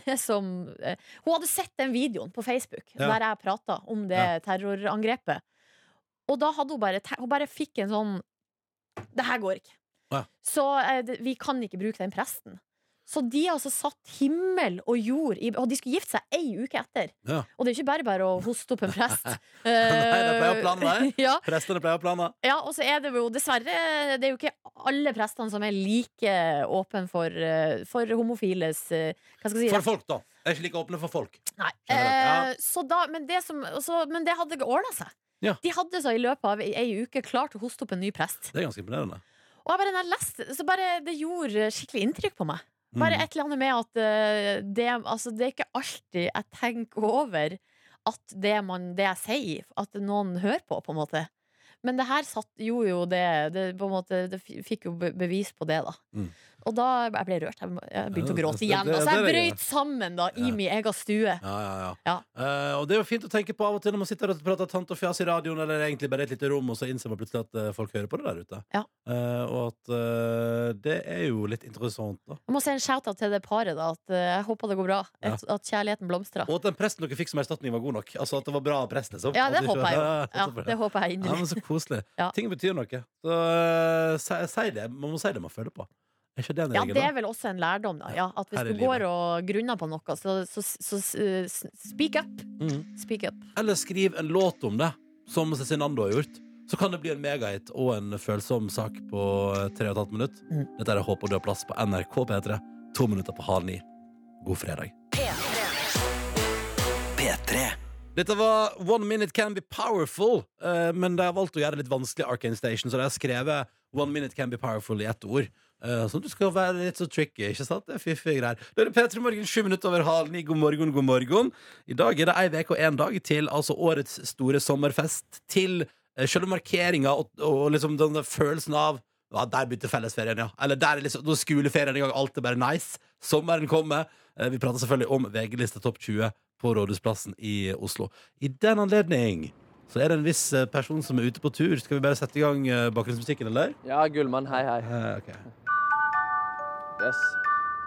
C: det *laughs* som eh, Hun hadde sett den videoen på Facebook
B: Ja.
C: der jeg prata om det terrorangrepet. Og da hadde hun bare te- Hun bare fikk en sånn Det her går ikke.
B: Ja.
C: Så eh, det- vi kan ikke bruke den presten. Så de altså satt himmel og jord i Og de skulle gifte seg ei uke etter.
B: Ja.
C: Og det er ikke bare bare å hoste opp en
B: *laughs*
C: prest. Eh,
B: Nei, det pleier å plane
C: *laughs* ja,
B: Prestene pleier å plane.
C: ja, og så er det jo dessverre Det er jo ikke alle prestene som er like åpne for, eh, for homofiles eh, Hva skal jeg si?
B: For folk, da. Jeg er ikke like åpne for folk.
C: Nei.
B: Generelt, ja.
C: Eh, så da, men, det som, og så- men det hadde ordna seg.
B: Ja.
C: De hadde så i løpet av ei- ei uke klart å hoste opp en ny prest.
B: Det er ganske imponerende.
C: Og jeg bare, når jeg leste, så bare, det gjorde skikkelig inntrykk på meg.
B: Mm.
C: Bare et eller annet med at eh, det, altså, det er ikke alltid jeg tenker over at det, man, det jeg sier, at noen hører på, på en måte. Men det her satt, gjorde jo det, det på en måte, Det fi- fikk jo be- bevis på det, da.
B: Mm.
C: Og da jeg ble rørt. Jeg jeg begynte å
B: Ja,
C: gråte
B: det-
C: igjen.
B: det-
C: Altså, jeg
B: det er det.
C: brøt sammen da i min egen stue.
B: Ja, ja, ja.
C: Ja.
B: Eh, og det er jo fint å tenke på av og til når man sitter og prater tant og fjas i radioen, eller egentlig bare et lite rom, og så innser man plutselig at eh, folk hører på det der ute.
C: Ja.
B: Eh, og at eh, det er jo litt interessant, da.
C: Jeg må si en shout-out til det paret. da at eh, Jeg håper det går bra.
B: Ja.
C: At, at kjærligheten blomstrer.
B: Og at den presten dere fikk som erstatning, var god nok. Altså at det var bra prest, liksom.
C: Ja,
B: At
C: det
B: du ikke-
C: håper jeg jo.
B: *laughs* Ja,
C: Ja,
B: håper jeg.
C: det håper
B: Ja,
C: jeg
B: men
C: inderlig.
B: så koselig.
C: Ja.
B: Ting betyr noe. Så eh, si, si det. Man må si det man føler på. Er ikke det en
C: Ja,
B: regel,
C: det er
B: da?
C: vel også en lærdom, da. Ja, at hvis
B: Her i
C: du går og grunner på noe, så, så, så, eh, s- speak up.
B: Mhm.
C: Speak up.
B: Eller skriv en låt om det, som Cezinando har gjort. Så kan det bli en megahit og en følsom sak på eh, tre og et halvt minutt.
C: Mm.
B: Dette er Håp og død plass på NRK P3. To minutter på halv ni. God fredag. Dette var One Minute Can Be Powerful, eh, men de har valgt å gjøre det litt vanskelig, Arcane Station, så de har skrevet One Minute Can Be Powerful i ett ord. Eh, sånn at du skal være litt så tricky, ikke sant? Det er fiffige greier. Da er det P3 Morgen, sju minutter over halv ni. God morgen, god morgen. I dag er det ei uke og én dag til altså årets store sommerfest. Til eh, selve markeringa og, og liksom den der følelsen av ja, der begynte fellesferien, ja. Eller der er liksom, nå er skoleferien i gang, alt er bare nice. Sommeren kommer. Eh, Vi prater selvfølgelig om VG-liste topp 20 på Rådhusplassen i Oslo. I den anledning så er det en viss eh, person som er ute på tur. Skal vi bare sette i gang eh, bakgrunnsmusikken, eller?
D: Ja, Gullmann, hei, hei.
B: Eh, ok.
D: Yes.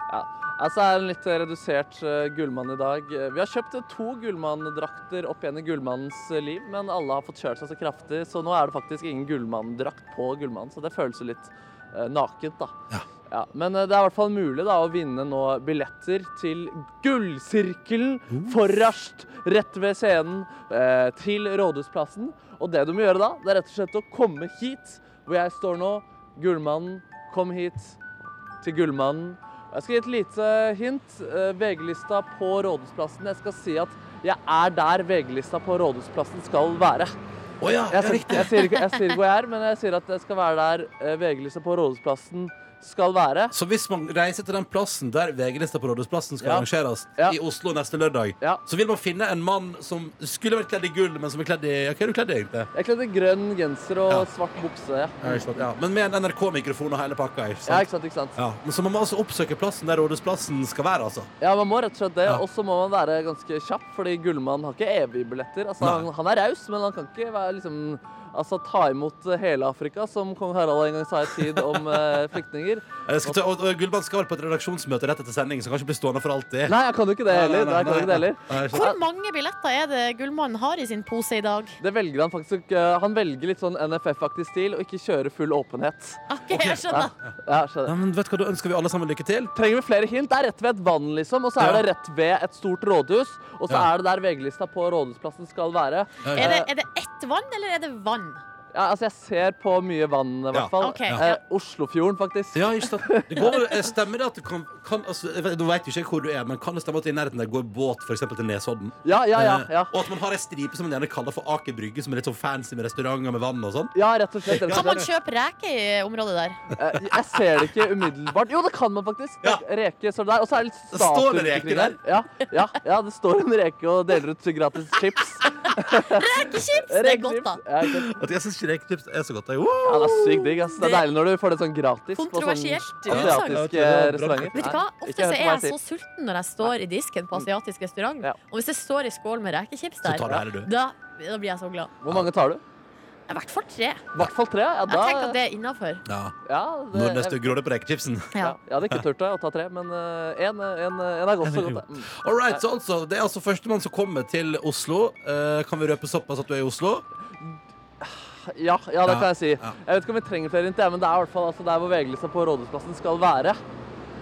D: Ja. Altså, det er en litt eh, redusert eh, Gullmann i dag. Eh, Vi har kjøpt eh, to Gullmann-drakter opp igjen i Gullmannens eh, liv, men alle har fått kjørt seg så kraftig, så nå er det faktisk ingen Gullmann-drakt på Gullmann, så det føles jo litt eh, nakent, da.
B: Ja.
D: men eh, det er i hvert fall mulig da, å vinne nå billetter til Gullsirkelen forrest rett ved scenen eh, til Rådhusplassen. Og det du må gjøre da, det er rett og slett å komme hit, hvor jeg står nå. Gullmannen, kom hit til Gullmannen. Jeg skal gi et lite hint. Eh, VG-lista på Rådhusplassen. Jeg skal si at jeg er der VG-lista på Rådhusplassen skal være.
B: Å ja,
D: Jeg,
B: ja,
D: sier-
B: riktig.
D: jeg, sier, ikke, jeg sier ikke hvor jeg er, men jeg sier at jeg skal være der eh, VG-lista på Rådhusplassen skal være.
B: Så hvis man reiser til den plassen der VG-lista på Rådhusplassen skal
D: Ja.
B: arrangeres,
D: Ja.
B: i Oslo neste lørdag,
D: Ja.
B: så vil man finne en mann som skulle vært kledd i gull, men som er kledd i ja, Hva er du kledd i, egentlig?
D: Jeg kledde grønn genser og
B: Ja.
D: svart bukse. Ja.
B: Ja, ikke sant, ja. Men med en NRK-mikrofon og hele pakka. Ikke
D: Ja,
B: sant?
D: ikke sant, ikke sant?
B: Ja. Men så må man altså oppsøke plassen der Rådhusplassen skal være, altså.
D: Ja, man må rett og slett det.
B: Ja.
D: Og så må man være ganske kjapp, fordi Gullmann har ikke evige billetter. Altså,
B: Nei.
D: han, han er raus, men han kan ikke være, liksom, altså, ta imot hele Afrika, som kong Harald en gang sa i tid om eh, flyktninger.
B: Jeg Skal ta, og, og Gullmann skal på et redaksjonsmøte rett etter sending, så han kan ikke bli stående for alltid.
D: Nei, jeg kan jo ikke det
B: Nei,
D: heller.
B: nei,
D: jeg kan jo
B: nei,
D: ikke det, heller.
B: nei, ikke sant.
C: Hvor mange billetter er det Gullmannen har i sin pose i dag?
D: det velger han faktisk. ikke. Han velger litt sånn NFF-aktig stil og ikke kjøre full åpenhet.
C: Ok, Ah, jeg skjønner.
D: Ja, skjønner.
B: Ja, men vet du hva, Da ønsker vi alle sammen lykke til.
D: Trenger vi flere hint? Det er rett ved et vann, liksom, og så er
B: Ja.
D: det rett ved et stort rådhus. Og så
B: Ja.
D: er det der VG-lista på rådhusplassen skal være.
B: Ja,
C: Er det, er det ett vann, eller er det vann?
D: Ja, altså, jeg ser på mye vann, i
B: Ja.
D: hvert fall.
C: Ok.
D: Eh, Oslofjorden, faktisk.
B: Ja, ikke sant. Det går, vel- eh, stemmer det at du kan, kan altså, jeg vet- Nå vet jo ikke jeg hvor du er, men kan det stemme at i nærheten der går båt for eksempel til Nesodden?
D: Ja, ja, ja.
B: Eh,
D: ja.
B: Og at man har ei stripe som man gjerne kaller for Aker Brygge, som er litt sånn fancy med restauranter med vann og sånn?
D: Ja, rett og slett. Rett
C: Kan
D: og
C: man
D: slett.
C: kjøpe reker i området der?
D: Eh, Jeg ser det ikke umiddelbart. Jo, det kan man faktisk.
B: Ja.
D: Reke står det der. Og så er det litt
B: Det står
D: statuer
B: en reke
D: omkring Ja, ja, ja, det står en reke og deler ut gratis chips.
C: Rekechips! Det er godt, da.
D: Ja, ikke sant.
B: At jeg syns ikke rekechips er så godt. Jeg.
D: ja, det er
B: Wow!
D: sykt digg. ass. Det er
C: Det-
D: deilig når du får det sånn gratis på sånn
C: Kontroversielt utsagn.
D: asiatiske
B: Ja, det er bra.
D: restauranter.
C: Vet du hva?
D: Nei,
C: Ofte
D: ikke
C: så er
D: hør på meg
C: jeg så
D: si.
C: sulten når jeg står i disken på asiatisk restaurant.
D: Ja.
C: Og hvis det står i skål med rekechips
B: Så
C: der,
B: tar du hele, du.
C: da, da blir jeg så glad.
D: Hvor mange tar du?
C: I hvert fall tre.
D: I hvert fall tre. Ja,
C: Jeg
D: da
C: tenker at det er innafor.
B: Ja.
D: ja,
B: Når det
D: jeg,
B: står grådig på rekechipsen.
D: ja, jeg hadde ikke turt det, å ta tre, men eh, én er godt så godt. da. Mm.
B: All right, så altså, det er altså førstemann som kommer til Oslo. Eh, kan vi røpe såpass at du er i Oslo?
D: Ja, ja, det
B: Ja,
D: kan jeg si.
B: ja.
D: Jeg vet ikke om vi trenger flere hint, jeg, men det er i hvert fall altså, der hvor VG-lista på Rådhusplassen skal være.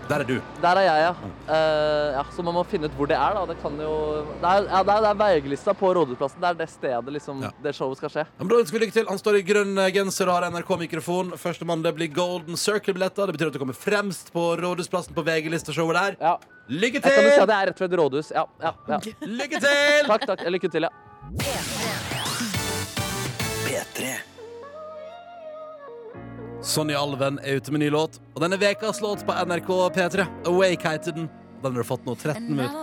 B: Der er du.
D: Der er jeg, ja.
B: Mm.
D: Eh, ja. Så man må finne ut hvor det er, da. Det kan jo Det er, ja, det er, det er VG-lista på Rådhusplassen. Det er det stedet liksom,
B: Ja.
D: det showet skal skje.
B: Ja, men da ønsker vi lykke til. Han står i grønn eh, genser og har NRK-mikrofon. Førstemann det blir Golden Circle-billetter. Det betyr at du kommer fremst på Rådhusplassen på VG-listeshowet der.
D: Ja.
B: Lykke
D: Jeg kan jo si at
B: til!
D: det er rett ved et rådhus. Ja, ja, ja.
B: Lykke
D: *laughs*
B: til!
D: Takk, takk. Lykke til, ja.
B: Sonja Alven er ute med ny låt, og denne vekas låt på NRK P3. Awake heter den. Den har du fått nå 13 minutter.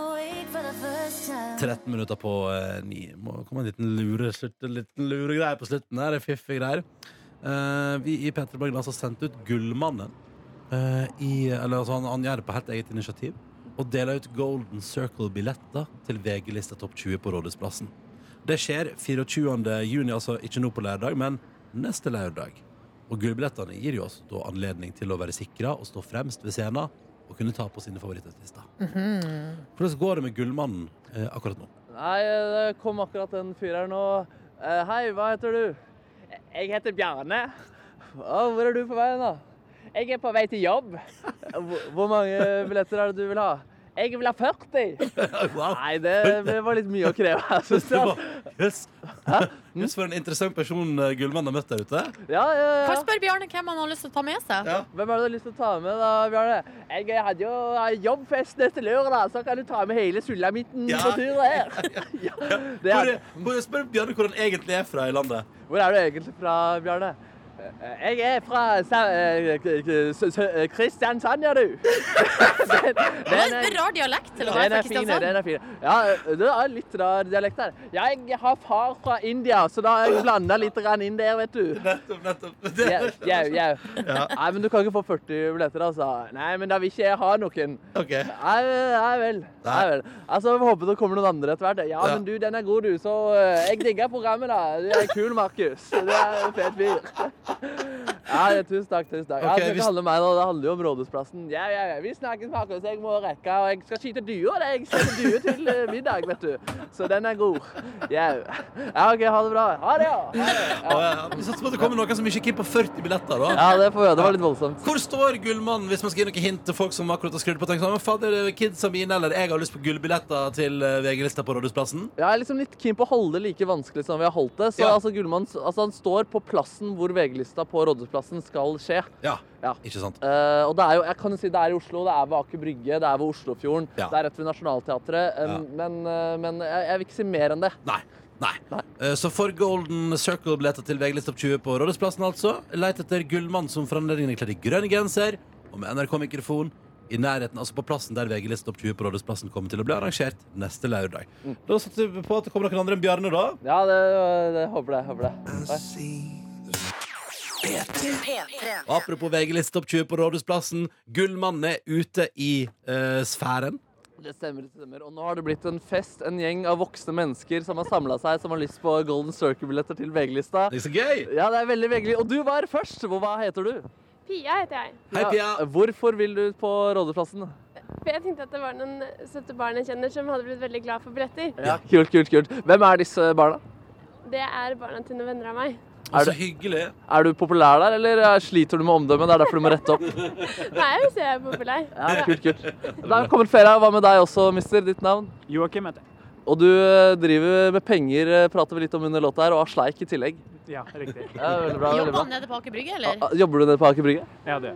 B: 13 minutter på eh, ni. Må komme en liten lure, slutt, en liten lure på slutten her. Det er Fiffige greier. Eh, vi i P3 Morgen har altså sendt ut Gullmannen eh, i Eller altså, han, han gjør det på helt eget initiativ. Og deler ut Golden Circle-billetter til VG-lista Topp 20 på Rådhusplassen. Det skjer 24. juni, altså ikke nå på lørdag, men neste lørdag. Og gullbillettene gir jo oss da anledning til å være sikra og stå fremst ved scenen og kunne ta på sine favorittartister. Hvordan går det med Gullmannen eh, akkurat nå?
D: Nei, eh, det kom akkurat en fyr her nå. Eh, Hei, hva heter du? Jeg heter Bjarne. hvor er du på vei da? Jeg er på vei til jobb. Hvor mange billetter er det du vil ha? Jeg vil ha 40.
B: *laughs* Wow.
D: Nei, det, det var litt mye å kreve. Jeg altså. synes
B: Det
D: det.
B: var- Jøss, *laughs* Jøss, for en interessant person eh, Gullmann har møtt der ute.
D: Ja, ja, ja.
C: Kan spørre Bjarne hvem han har lyst til å ta med seg.
D: Hvem er det du har lyst til å ta med, da, Bjarne? Jeg hadde jo jobbfest neste lørdag, så kan du ta med hele sulamitten
B: Ja.
D: på tur her. Ja,
B: Hvor,
D: det er,
B: hvor, spør Bjarne hvor han egentlig er fra i landet.
D: hvor er du egentlig fra, Bjarne? Eh, Jeg er fra Sa- eh, k- k- s- s- eh, Kristiansand, ja, du. *laughs* Den,
C: Det
D: den
C: var en
D: er,
C: rar dialekt til å
D: den
C: være fra
D: er fin,
C: Kristiansand.
D: den er fin. Ja, du har litt rar dialekt der. Jeg har far fra India, så da har jeg blanda litt grann inn der, vet du.
B: Nettopp, nettopp.
D: Jau, jau, jau. Nei, men du kan ikke få 40 billetter, altså. Nei, men da vil ikke jeg ha noen.
B: Ok.
D: Nei, nei vel. Nei vel. Altså, Vi håper det kommer noen andre etter hvert. Ja,
B: Ja.
D: men du, den er god, du. Så eh, jeg digger programmet, da. Du er kul, Markus. Du er en fet fyr. Ja, ja, tusen takk. tusen takk. Ja,
B: Ok,
D: det,
B: hvis-
D: handler om meg, da. det handler jo om Rådhusplassen. Ja, ja, ja. Vi snakkes, Markus. Jeg må rekke, og jeg skal skyte duer. da. Jeg skyter duer til eh, middag, vet du. Så den er god. Ja, ja OK. Ha det bra. Ha det, ja. Ha det.
B: Å, ja. Vi satser på at det kommer noen som ikke kipper 40 billetter. da
D: Ja, det, får, det var litt voldsomt.
B: Hvor står Gullmannen, hvis man skal gi noen hint til folk som akkurat har skrudd på? Tenk sånn, «Men Fader, kidsa mine eller jeg har lyst på gullbilletter til eh, VG-lista på Rådhusplassen.
D: Jeg er liksom litt keen på å holde det like vanskelig som vi har holdt det. Så
B: Ja.
D: altså, Gullmann altså, han står på plassen hvor VG-lista på Rådhusplassen skal skje.
B: Ja,
D: Ja.
B: ikke sant?
D: Eh, og det er jo, jeg kan jo si det er i Oslo, det er ved Aker Brygge, det er ved Oslofjorden,
B: Ja.
D: det er rett ved Nationaltheatret. eh,
B: Ja.
D: Men, eh, men jeg, jeg vil ikke si mer enn det.
B: Nei. Nei.
D: Nei.
B: Eh, Så for Golden Circle-billetter til VG-lista på 20 på Rådhusplassen, altså, leit etter Gullmann som for anledningen er kledd i grønn genser og med NRK-mikrofon i nærheten, altså på plassen der VG-lista opp 20 på Rådhusplassen kommer til å bli arrangert neste lørdag. Da satser vi på at det kommer noen andre enn Bjarne, da.
D: Ja, det, det håper det. Håper det. Oi.
A: P3.
B: Og apropos VG-lista topp 20 på Rådhusplassen. Gullmannen er ute i eh, sfæren.
D: Det stemmer, det stemmer. Og nå har det blitt en fest, en gjeng av voksne mennesker som har samla seg, som har lyst på Golden Circle-billetter til VG-lista.
B: Det er så gøy!
D: Ja, det er veldig VG. Og du var først! Hvor- Hva heter du?
J: Pia heter jeg.
B: Hei, Pia.
D: Ja, Hvorfor vil du på Rådhusplassen?
J: For jeg tenkte at det var noen søte barn jeg kjenner som hadde blitt veldig glad for billetter.
D: Ja, kult, kult, kult. Hvem er disse barna?
J: Det er barna til noen venner av meg.
B: Og så hyggelig.
D: Er du populær der, eller eh, sliter du med omdømmet? Det er derfor du må rette opp.
J: Nei, hvis jeg er populær.
D: *laughs* Ja, kult, kult. Da kommer flere. Hva med deg også, mister? Ditt navn?
K: Joakim heter jeg.
D: Og du eh, driver med penger, eh, prater vi litt om under låta her, og har sleik i tillegg.
K: Ja, riktig.
D: Ja, veldig bra, veldig
C: Jobber
D: bra.
C: han nede på Aker Brygge,
D: Ah,
C: eller?
D: ah, Jobber du nede på Aker Brygge?
K: Ja, det.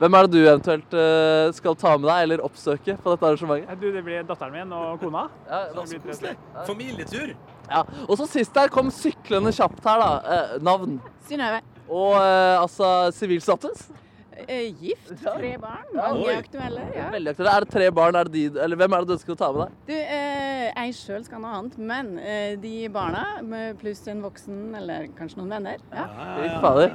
D: Hvem er det du eventuelt eh, skal ta med deg, eller oppsøke på dette arrangementet?
K: Du, det blir datteren min og kona.
D: Ja,
K: Så det blir tre.
B: Familietur.
D: ja. Og så sist her kom syklende kjapt her, da. Eh, navn.
J: Synnøve.
D: Og eh, altså sivilstatus.
J: eh, Gift. Tre barn.
B: Mange Oi.
J: aktuelle.
D: Veldig aktuelt. Er det tre barn? Er det de, eller hvem er det du ønsker å ta med deg?
J: Du, eh, jeg sjøl skal noe annet, men eh, de barna pluss en voksen eller kanskje noen venner.
D: Fy fader.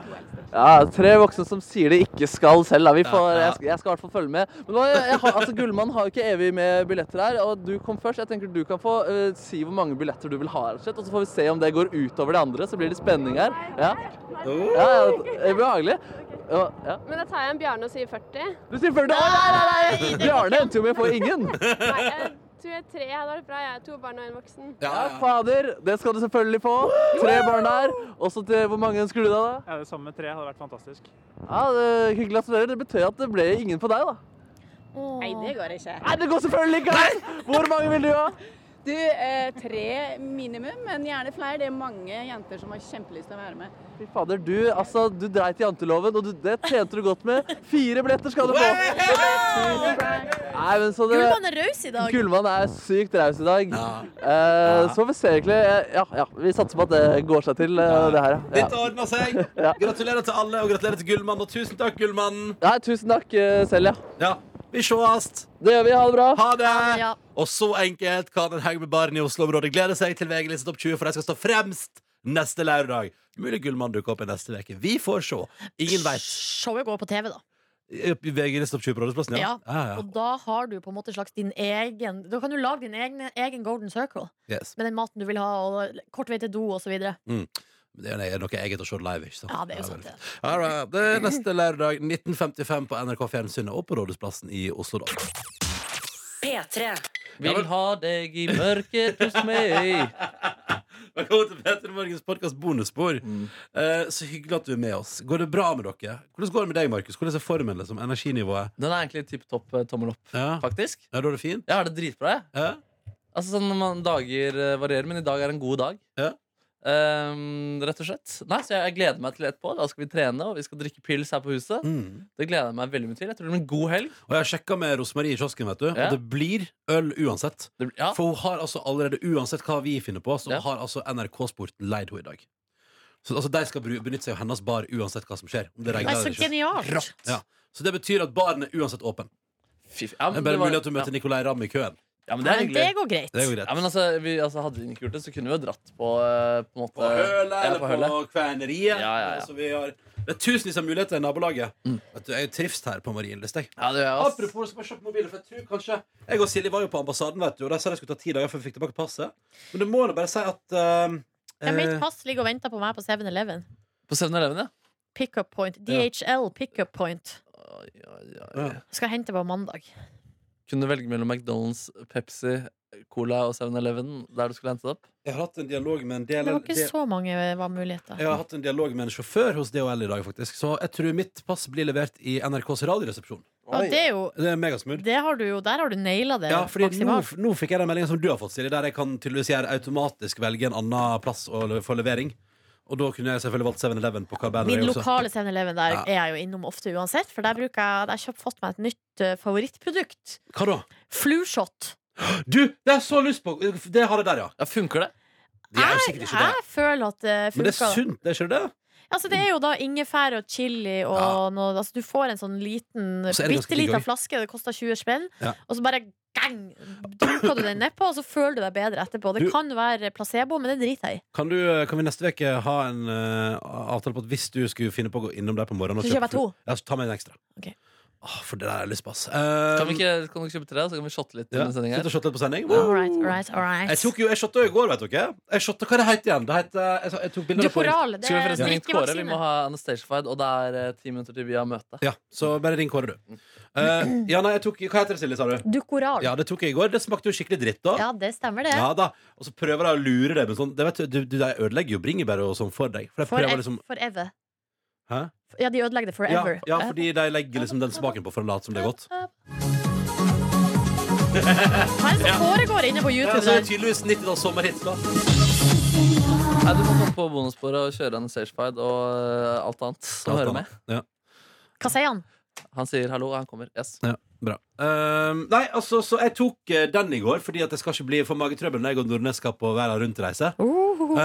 D: Ja, tre voksne som sier de ikke skal selv. Da. Vi får,
B: Ja, ja.
D: jeg, skal, jeg skal i hvert fall følge med. Men nå, jeg, jeg har, altså, Gullmann har jo ikke evig med billetter her, og du kom først. Jeg tenker Du kan få eh, si hvor mange billetter du vil ha, rett og slett, og så får vi se om det går utover de andre. Så blir det spenning her. Ja, ja, ja det blir behagelig. Ja, ja.
J: Men da tar jeg en Bjarne og sier 40.
D: Du sier 40 år! Nei, nei, nei! Bjarne endte jo med å få ingen.
J: Nei, jeg tror jeg tre hadde vært bra. Jeg er to barn og en voksen.
B: Ja,
D: Ja,
B: ja.
D: fader. Det skal du selvfølgelig få. Tre barn der. Også til Hvor mange ønsker du deg, da?
K: Ja, det samme med tre hadde vært fantastisk.
D: Ja, det, Hyggelig at dere. Det betød at det ble ingen på deg, da.
J: Nei, det går ikke.
D: Nei, det går selvfølgelig ikke! an! Hvor mange vil du ha?
J: Du, tre minimum, men gjerne flere. Det er mange jenter som har kjempelyst til å være med.
D: Fy fader, du, altså, du dreit i janteloven, og du, det tjente du godt med. Fire billetter skal du få! Nei, men så det...
C: Gullmann er raus i dag.
D: Gullmann er sykt raus i dag.
B: Ja.
D: Eh, så får vi se egentlig. Ja, ja, vi satser på at det går seg til, eh, det her. *laughs* Ja.
B: Dette ordner seg. Gratulerer til alle, og gratulerer til Gullmannen. Og tusen takk, Gullmannen.
D: Nei, tusen takk eh, selv, ja.
B: Ja, vi sees.
D: Det gjør vi. Ha det bra.
B: Ha det!
C: Ja.
B: Og så enkelt kan en haug med barn i Oslo-området glede seg til VG-lista topp 20, for de skal stå fremst neste lørdag. Mulig Gullmann dukker opp i neste uke. Vi får se. Ingen veit.
C: Showet går på TV, da.
B: VG Listtopp 20-på-rolleplassen, ja.
C: Ja.
B: Ja, ja.
C: Og da har du på en måte slags din egen Da kan du lage din egen, egen golden circle
B: Yes.
C: med den maten du vil ha, og kort vei til do osv.
B: Mm. Men Det er noe eget å se live, ikke sant?
C: Ja, det er jo sånn. sant,
B: veldig fint. All right. Det er neste lørdag 1955 på NRK Fjernsynet og på Rådhusplassen i Oslo, da.
A: P3.
D: Vil ha deg i mørket hos meg.
B: Velkommen til Peter Morgens podkast bonusspor. Eh, så hyggelig at du er med oss. Går det bra med dere? Hvordan går det med deg, Markus? Hvordan er formen? liksom? Energinivået?
D: Den er egentlig tipp topp eh, tommel opp, faktisk.
B: Ja, da er det fint.
D: Jeg har det dritbra, jeg. Altså, sånn, man, dager eh, varierer, men i dag er en god dag. Ehm, rett og slett. Nei, så jeg, jeg gleder meg til etterpå. Da skal vi trene, og vi skal drikke pils her på huset.
B: Mm.
D: Det gleder jeg meg veldig mye til. Jeg tror det blir en god helg.
B: Og jeg har sjekka med Rosemarie i kiosken, vet du.
D: Ja.
B: Og det blir øl uansett. For hun har altså allerede, uansett hva vi finner på, så har altså NRK Sporten leid henne i dag. Så altså, De skal bru- benytte seg av hennes bar uansett hva som skjer. Om det regner
C: Nei, så
B: eller ikke.
C: genialt. Rått.
B: Ja. Så det betyr at baren er uansett åpen.
D: men
B: det er bare
D: det var-
B: mulig at du møter Nicolay Ramm i køen.
D: Ja, men det, er
C: Men det
D: hyggelig.
C: går greit.
B: Det går greit.
D: Ja, men altså, vi, altså, hadde vi ikke gjort det, så kunne vi jo dratt på eh, På, en måte,
B: På Høla
D: ja,
B: eller på,
D: Høla.
B: Kverneriet.
D: Ja, ja, ja.
B: Altså, vi har, det er tusenvis av muligheter i nabolaget. Mm. Vet du, jeg trives her på Marienlyst. jeg.
D: Ja, det gjør jeg, ass.
B: Apropos, skal bare kjapt mobilen, for jeg tror kanskje Jeg og Silje var jo på ambassaden, vet du, og de sa de skulle ta ti dager før vi fikk tilbake passet. Men det må nå bare si at eh,
C: Ja, mitt
B: eh,
C: pass ligger og venter på meg på 7-Eleven.
D: På 7-Eleven, ja.
C: Pickup point. DHL pickup point. Skal hente på mandag.
D: Kunne du velge mellom McDonald's, Pepsi, Cola og 7-Eleven der du skulle hente det opp?
B: Jeg har hatt en dialog med en del
C: Det var ikke
B: del-
C: så mange eh, var muligheter.
B: Jeg har hatt en dialog med en sjåfør hos DHL i dag, faktisk. Så jeg tror mitt pass blir levert i NRKs radioresepsjon.
C: Ja, det er jo
B: Det er megasmooth.
C: det har du jo, Der har du naila det
B: Ja, fordi nå,
C: maksimalt.
B: nå fikk jeg den meldingen som du har fått, Silje, der jeg kan tydeligvis gjøre automatisk velge en annen plass å le- for levering. Og da kunne jeg selvfølgelig valgt 7-Eleven på hva bandet
C: Min
B: jeg også-
C: lokale 7-Eleven der
B: Ja.
C: er jeg jo innom ofte uansett, for der bruker jeg Der har jeg kjøpt fått meg et nytt eh, favorittprodukt.
B: Hva da?
C: Flushot.
B: Du, det har jeg så lyst på! Det har jeg der, ja.
D: Funker det?
B: Det er jo sikkert ikke det.
C: Jeg føler at det funker.
B: Men det er sunt, det er ikke det?
C: Altså, det er jo da ingefær og chili og noe altså, Du får en sånn liten,
B: Og så er det ganske
C: bitte liten
B: digg også.
C: flaske, det koster 20 spenn,
B: Ja.
C: og så bare gang, dunker du den nedpå, og så føler du deg bedre etterpå. Det
B: Du-
C: kan være placebo, men det driter jeg i.
B: Kan, du, kan vi neste uke ha en eh, avtale på at hvis du skulle finne på å gå innom der på morgenen og
C: Så kjøper jeg
B: fru-
C: to.
B: Ja, så ta med en ekstra.
C: Ok.
B: Åh, for det der har jeg lyst på, ass. Ehm,
D: Kan vi ikke kan dere kjøpe tre, så kan vi shotte litt?
B: Um, ja,
D: under sendingen her?
B: Sitte og shotte litt på sending?
C: All right, all right, all
B: Jeg
C: right.
B: tok jo, jeg shotta jo i går, vet dere. Jeg shotta, hva det heter igjen? Det heter, jeg, så- jeg tok bilder av
C: Dukoral, det
D: Skal vi
C: er
D: forresten ringe
C: drikkevaksine.
D: Kåre? Vi må ha Anastatified, og det er eh, ti minutter til vi har møte.
B: Ja, så bare ring Kåre, du. Eh, ja, nei, jeg tok, hva heter det, Silje, sa du?
C: Dukoral.
B: Ja, det tok jeg i går. Det smakte jo skikkelig dritt, da.
C: Ja, det stemmer, det.
B: Ja da. Og så prøver jeg å lure det, men sånn, det vet du, du, du, jeg ødelegger jo bringebær og sånn for deg. For jeg
C: For
B: prøver
C: ev-
B: liksom
C: Forever.
B: Hæ?
C: Ja, de ødelegger det
B: Ja,
C: forever.
B: ja, fordi de legger liksom den smaken på for å late som det er godt.
C: Hva er det som foregår inne på
B: *laughs* Ja,
C: YouTube
B: så er
C: der?
B: det tydeligvis 90-talls sommerhits, da.
D: Nei, du må komme på bonussporet og kjøre Anastatified og eh, alt annet som
B: Alt
D: hører
B: annet,
D: med.
B: ja.
C: Hva sier han?
D: Han sier hallo, og han kommer. Yes.
B: Ja, bra. Ehm, nei, altså, så jeg tok eh, den i går, fordi at jeg skal ikke bli for magetrøbbel når jeg og Nordnes skal på verden rundt-reise. Eh,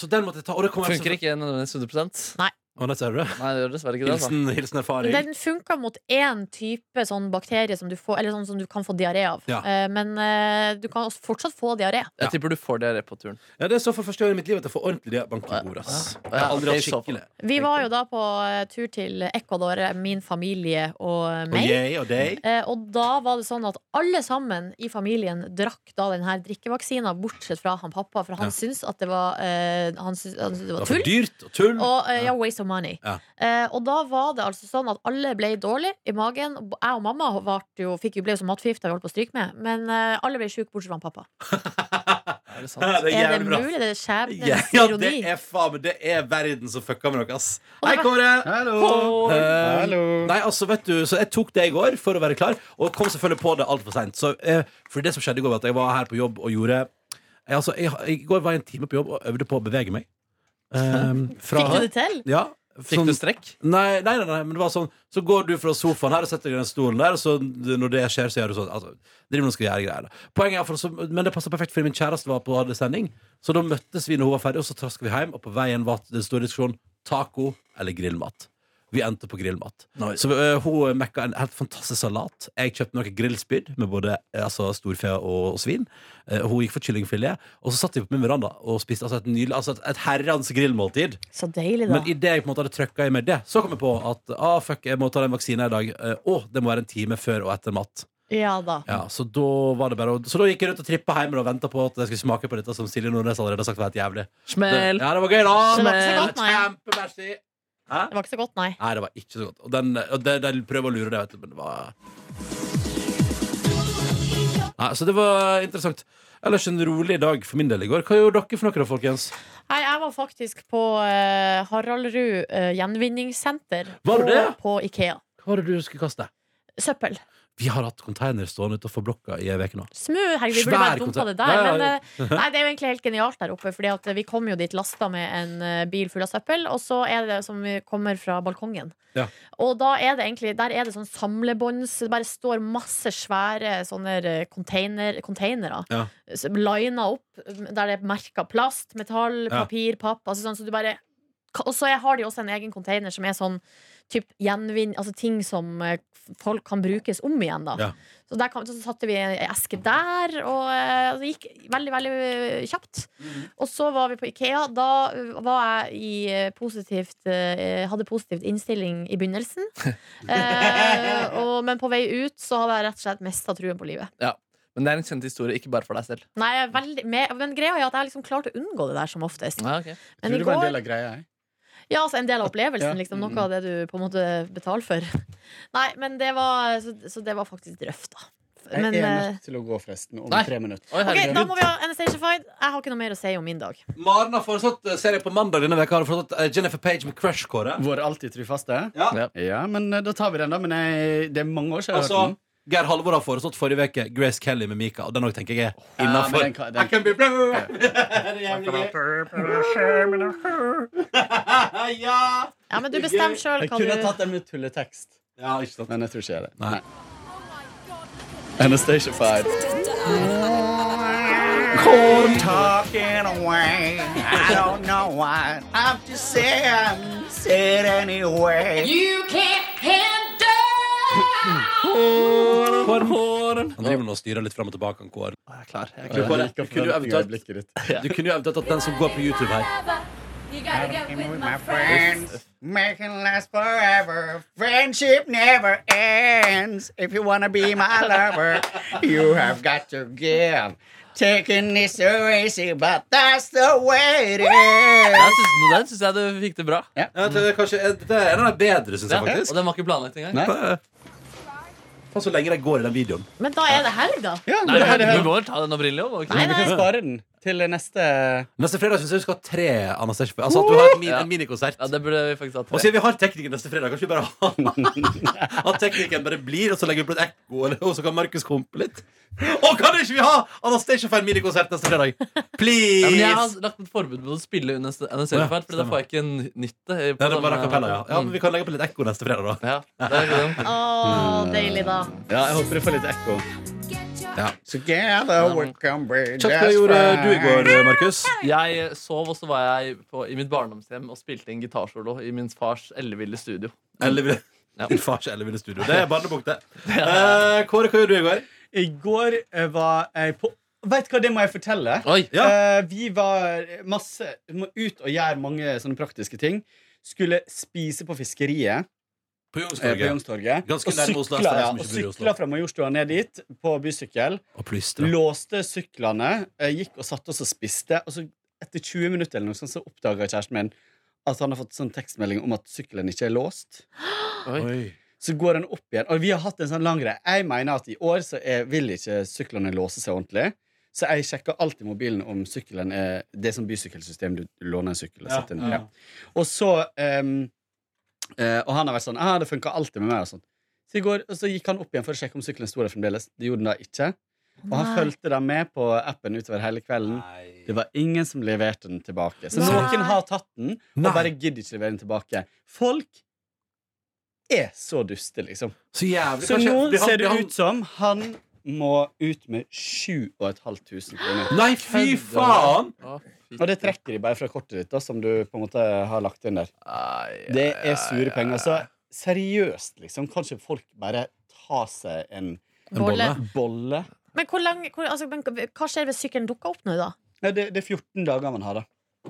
B: så den måtte jeg ta. Og det kommer
D: Funker ikke nødvendigvis 100
C: Nei.
B: Å, nei, ser du det?
D: Nei, det gjør dessverre ikke det. altså.
B: Hilsen, hilsen erfaring.
C: Den funker mot én type sånn bakterie som du, får, eller sånn som du kan få diaré av.
B: Ja.
C: Eh, Men eh, du kan også fortsatt få diaré.
D: Jeg tipper du får diaré på turen.
B: Ja, det er så for første gang i mitt liv at jeg får ordentlig det bank i bordet. ass. Jeg har aldri hatt
D: det er i så fall.
B: skikkelig.
C: Vi var jo da på eh, tur til Ecuador, eh, min familie og eh,
B: Og
C: meg.
B: jeg og deg.
C: Eh, Og da var det sånn at alle sammen i familien drakk da den her drikkevaksina, bortsett fra han pappa, for han syntes at det var, eh, han syntes, han syntes det
B: Det
C: var
B: var for
C: tull.
B: dyrt og tull.
C: Og eh, ja, waste of money.
B: Ja.
C: Eh, og da var det altså sånn at alle ble dårlig i magen. Og Jeg og mamma vart jo, fikk jo, ble jo så matforgifta, vi holdt på å stryke med. Men eh, alle ble sjuke, bortsett fra han pappa.
D: Er det
B: *laughs*
D: sant?
B: Ja, *laughs* det er
C: Er
B: jævlig
C: det
B: bra.
C: mulig? Det er
B: Ja,
C: skjebnens
B: ja, det
C: ironi.
B: er faen meg Det er verden som fucker med dere, ass.
C: Og
B: Hei,
C: det var-
B: Kåre!
G: Hallo.
B: Eh,
G: Hallo.
B: Nei, altså, vet du, så jeg tok det i går for å være klar, og kom selvfølgelig på det altfor seint. Uh, for det som skjedde i går, var at jeg var her på jobb og gjorde jeg, Altså, jeg, I går var jeg en time på jobb og øvde på å bevege
C: *laughs*
B: meg. Eh, fra-
C: Fikk du det til?
B: Ja. sånn-
D: Fikk du strekk?
B: Nei, nei, nei, nei, men det var sånn Så går du fra sofaen her og setter deg i den stolen der, og så når det skjer, så gjør du sånn. Altså, driver med noe skal gjøre greier da. Poenget er for, så, Men det passa perfekt, fordi min kjæreste var på hadde sending. Så da møttes vi når hun var ferdig, og så traska vi hjem. Og på veien var den store diskusjonen taco eller grillmat. Vi endte på grillmat. Så eh, hun mekka en helt fantastisk salat. Jeg kjøpte noe grillspyd med både eh, altså, storfe og, og svin. Eh, hun gikk for kyllingfilet. Og så satt vi på min veranda og spiste altså, et, nydelig, altså, et, et herrens grillmåltid.
C: Så deilig, da.
B: Men idet jeg på en måte hadde trøkka i meg det, så kom jeg på at ah, fuck, jeg må ta den vaksina i dag. Eh, Å, det må være en time før og etter mat.
C: Ja da.
B: Ja, så da var det bare å- Så da gikk jeg rundt og trippa hjemme og venta på at jeg skulle smake på dette som Silje Nordnes allerede har sagt var helt jævlig.
C: Smell.
B: Det, ja, det var gøy, da.
C: Så det var ikke så godt, nei.
B: Kjempemessig. Hæ?
C: Det var ikke så godt, nei.
B: Nei, det var ikke så godt. Og den, og den, den prøver å lure deg, vet du, men det var Nei, Så det var interessant. Ellers en rolig dag for min del i går. Hva gjorde dere for noe, da, folkens?
C: Nei, jeg var faktisk på eh, Haraldrud eh, gjenvinningssenter.
B: Var du
C: og
B: det?
C: På Ikea.
B: Hva var det du skulle kaste?
C: Søppel.
B: Vi har hatt container stående utenfor blokka i ei uke nå.
C: Smu, herregud, vi
B: Svær
C: burde bare dumpa
B: kontor-
C: det der.
B: Ja, ja,
C: Men
B: ja.
C: eh, nei, det er jo egentlig helt genialt der oppe, Fordi at vi kom jo dit lasta med en eh, bil full av søppel, og så er det som vi kommer fra balkongen.
B: Ja.
C: Og da er det egentlig Der er det sånn samlebånds Det bare står masse svære sånne eh, container, containere.
B: Ja.
C: s- Lina opp, der det er merka plast, metall,
B: Ja.
C: papir, papp. Altså sånn, så du bare og så har de også en egen container som er sånn typ, gjenvinn, altså ting som eh, folk kan brukes om igjen. Da.
B: Ja.
C: Så, der kom, så satte vi ei eske der, og eh, det gikk veldig, veldig eh, kjapt.
F: Mhm.
C: Og så var vi på Ikea. Da eh, var jeg i eh, positivt eh, Hadde positivt innstilling i
F: *laughs*
C: begynnelsen. Eh, og, men på vei ut så hadde jeg rett og slett mista truen på livet.
D: Ja. Men det er en kjent historie, ikke bare for deg selv.
C: Nei, jeg er veldig, med, men greia er at jeg har liksom klart å unngå det der som oftest.
D: Ja, ok.
C: Men i
F: Tror det var en
C: går-
F: del av greia, jeg.
C: Ja, altså en del av opplevelsen.
F: Ja. Mm.
C: Liksom, noe av det du på en måte betaler for. *laughs* Nei, men det var, så, så det var faktisk drøft, da.
F: Jeg
C: Men,
F: er
C: eh,
F: nødt til å gå, forresten. Om
B: Nei.
F: tre minutter.
C: ok, da må vi ha Anastacia-fight. Jeg har ikke noe mer å si om min dag.
B: Maren har foreslått eh, serie på mandag denne veka Har du foreslått eh, Jennifer Page med Crash-kåret.
F: Vår alltid trufaste?
B: Ja.
F: ja, men eh, da tar vi den, da. Men jeg, det er mange år siden jeg
B: Altså,
F: har hørt den.
B: Geir Halvor har foreslått forrige uke Grace Kelly med Mika, og den òg tenker jeg er
F: Ja, men
B: innafor.
F: den kan- den-
C: Ja, men du bestemmer sjøl
F: Jeg
C: hva
F: kunne ha
C: du
F: tatt den med tulletekst. Men jeg tror ikke jeg gjør det.
B: Nei.
F: Anastacia Five.
E: Talking away, I don't know why. I'm just saying, say it anyway.
L: You can't handle
B: Korn. Han driver nå og styrer litt fram og tilbake. Han Kåren.
D: Jeg er klar. Jeg
B: Du,
D: er klar.
B: Kåre, kunne jo eventuelt, du kunne jo eventuelt tatt den som går på YouTube her.
L: You gotta go with my
E: friends.
F: Make it last forever. Friendship never ends. If you wanna be my lover, you have got to give. Taking this so easy, but that's the way it
D: Der
F: is.
D: syns- Der syns jeg du fikk det bra.
B: Ja, det er kanskje det Eh, er en av de bedre, syns jeg
D: Ja,
B: faktisk.
D: Og den var ikke planlagt engang.
B: Faen, så lenge de går i den videoen.
C: Men da er det helg, da.
D: Nei, du må vel ta den Abrilio. må du ikke?
F: Nei, vi kan spare den til neste
B: Neste fredag syns jeg vi skal ha tre Anastasia Five. Altså at du har et min,
D: Ja.
B: en minikonsert.
D: Ja, det burde vi faktisk ha
B: Og
D: tre.
B: siden vi har teknikken neste fredag, kanskje vi bare
F: *laughs*
B: har At teknikken bare blir, og så legger vi på et ekko, eller- og så kan Markus kompe litt. Og kan ikke vi ha Anastasia Five minikonsert neste fredag? Please!
D: Ja, men jeg har lagt et forbud mot å spille under en
B: Å, ja,
D: serieferd, for da får jeg ikke eh, nytte.
B: Nei, det er bare a cappella, ja. ja. Men vi kan legge på litt ekko neste fredag, da.
D: eh, mm. Ja, det er jo det.
C: Å, deilig, da.
F: Ja, jeg håper du får litt ekko.
B: Ja.
F: Together we can be
B: Kjapt, hva gjorde du i går, Markus?
D: Jeg eh, sov, og så var jeg på, i mitt barndomshjem og spilte en gitarsolo i min fars elleville studio.
B: Eller
D: Ja.
B: Din fars elleville studio. Det er barnebok, det. Eh, Kåre, hva gjorde du i går?
F: I går eh, var jeg på Vet du hva, det må jeg fortelle.
D: Oi.
F: Eh, vi var masse må ut og gjøre mange sånne praktiske ting. Skulle spise på fiskeriet.
B: På
F: eh, På Youngstorget.
B: Ganske
F: Og
B: nærme Oslo,
F: sykla,
B: for de
F: ja,
B: som ikke
F: og
B: bor i Oslo.
F: sykla fra Majorstua ned dit på bysykkel.
B: Og plystra.
F: Låste syklene, eh, gikk og satte oss og spiste. Og så etter 20 minutter eller noe sånt, så oppdaga kjæresten min at han har fått sånn tekstmelding om at sykkelen ikke er låst.
B: Oi.
F: Så går den opp igjen. Og vi har hatt en sånn lang greie. Jeg mener at i år så er, vil ikke syklene låse seg ordentlig. Så jeg sjekker alltid mobilen om sykkelen er det er sånn bysykkelsystem du låner en sykkel og
B: Ja,
F: setter den
B: ja.
F: ja. Og så ehm, eh, Og han har vært sånn ah, 'Det funka alltid med meg', og sånn. Så i går og så gikk han opp igjen for å sjekke om sykkelen sto der fremdeles. Det gjorde den da ikke. Og han
C: Nei.
F: fulgte den med på appen utover hele kvelden. Det var ingen som leverte den tilbake. Så
C: Nei.
F: noen har tatt den, og
B: Nei.
F: bare gidder ikke levere den tilbake. Folk er så duste, liksom.
B: Så jævlig
F: Så
B: Kanskje
F: nå
B: blir han-
F: ser
B: blir
F: det
B: han-
F: ut som han må ut med 7500 kroner.
B: Nei, fy faen!
F: Og det trekker de bare fra kortet ditt, da, som du på en måte har lagt inn der. Det er sure penger. Så seriøst, liksom. Kan ikke folk bare ta seg en,
C: En bolle.
F: bolle?
C: Men, hvor lang, hvor, altså, men hva skjer hvis sykkelen dukker opp nå, da?
F: Nei, det, det er 14 dager man har, da.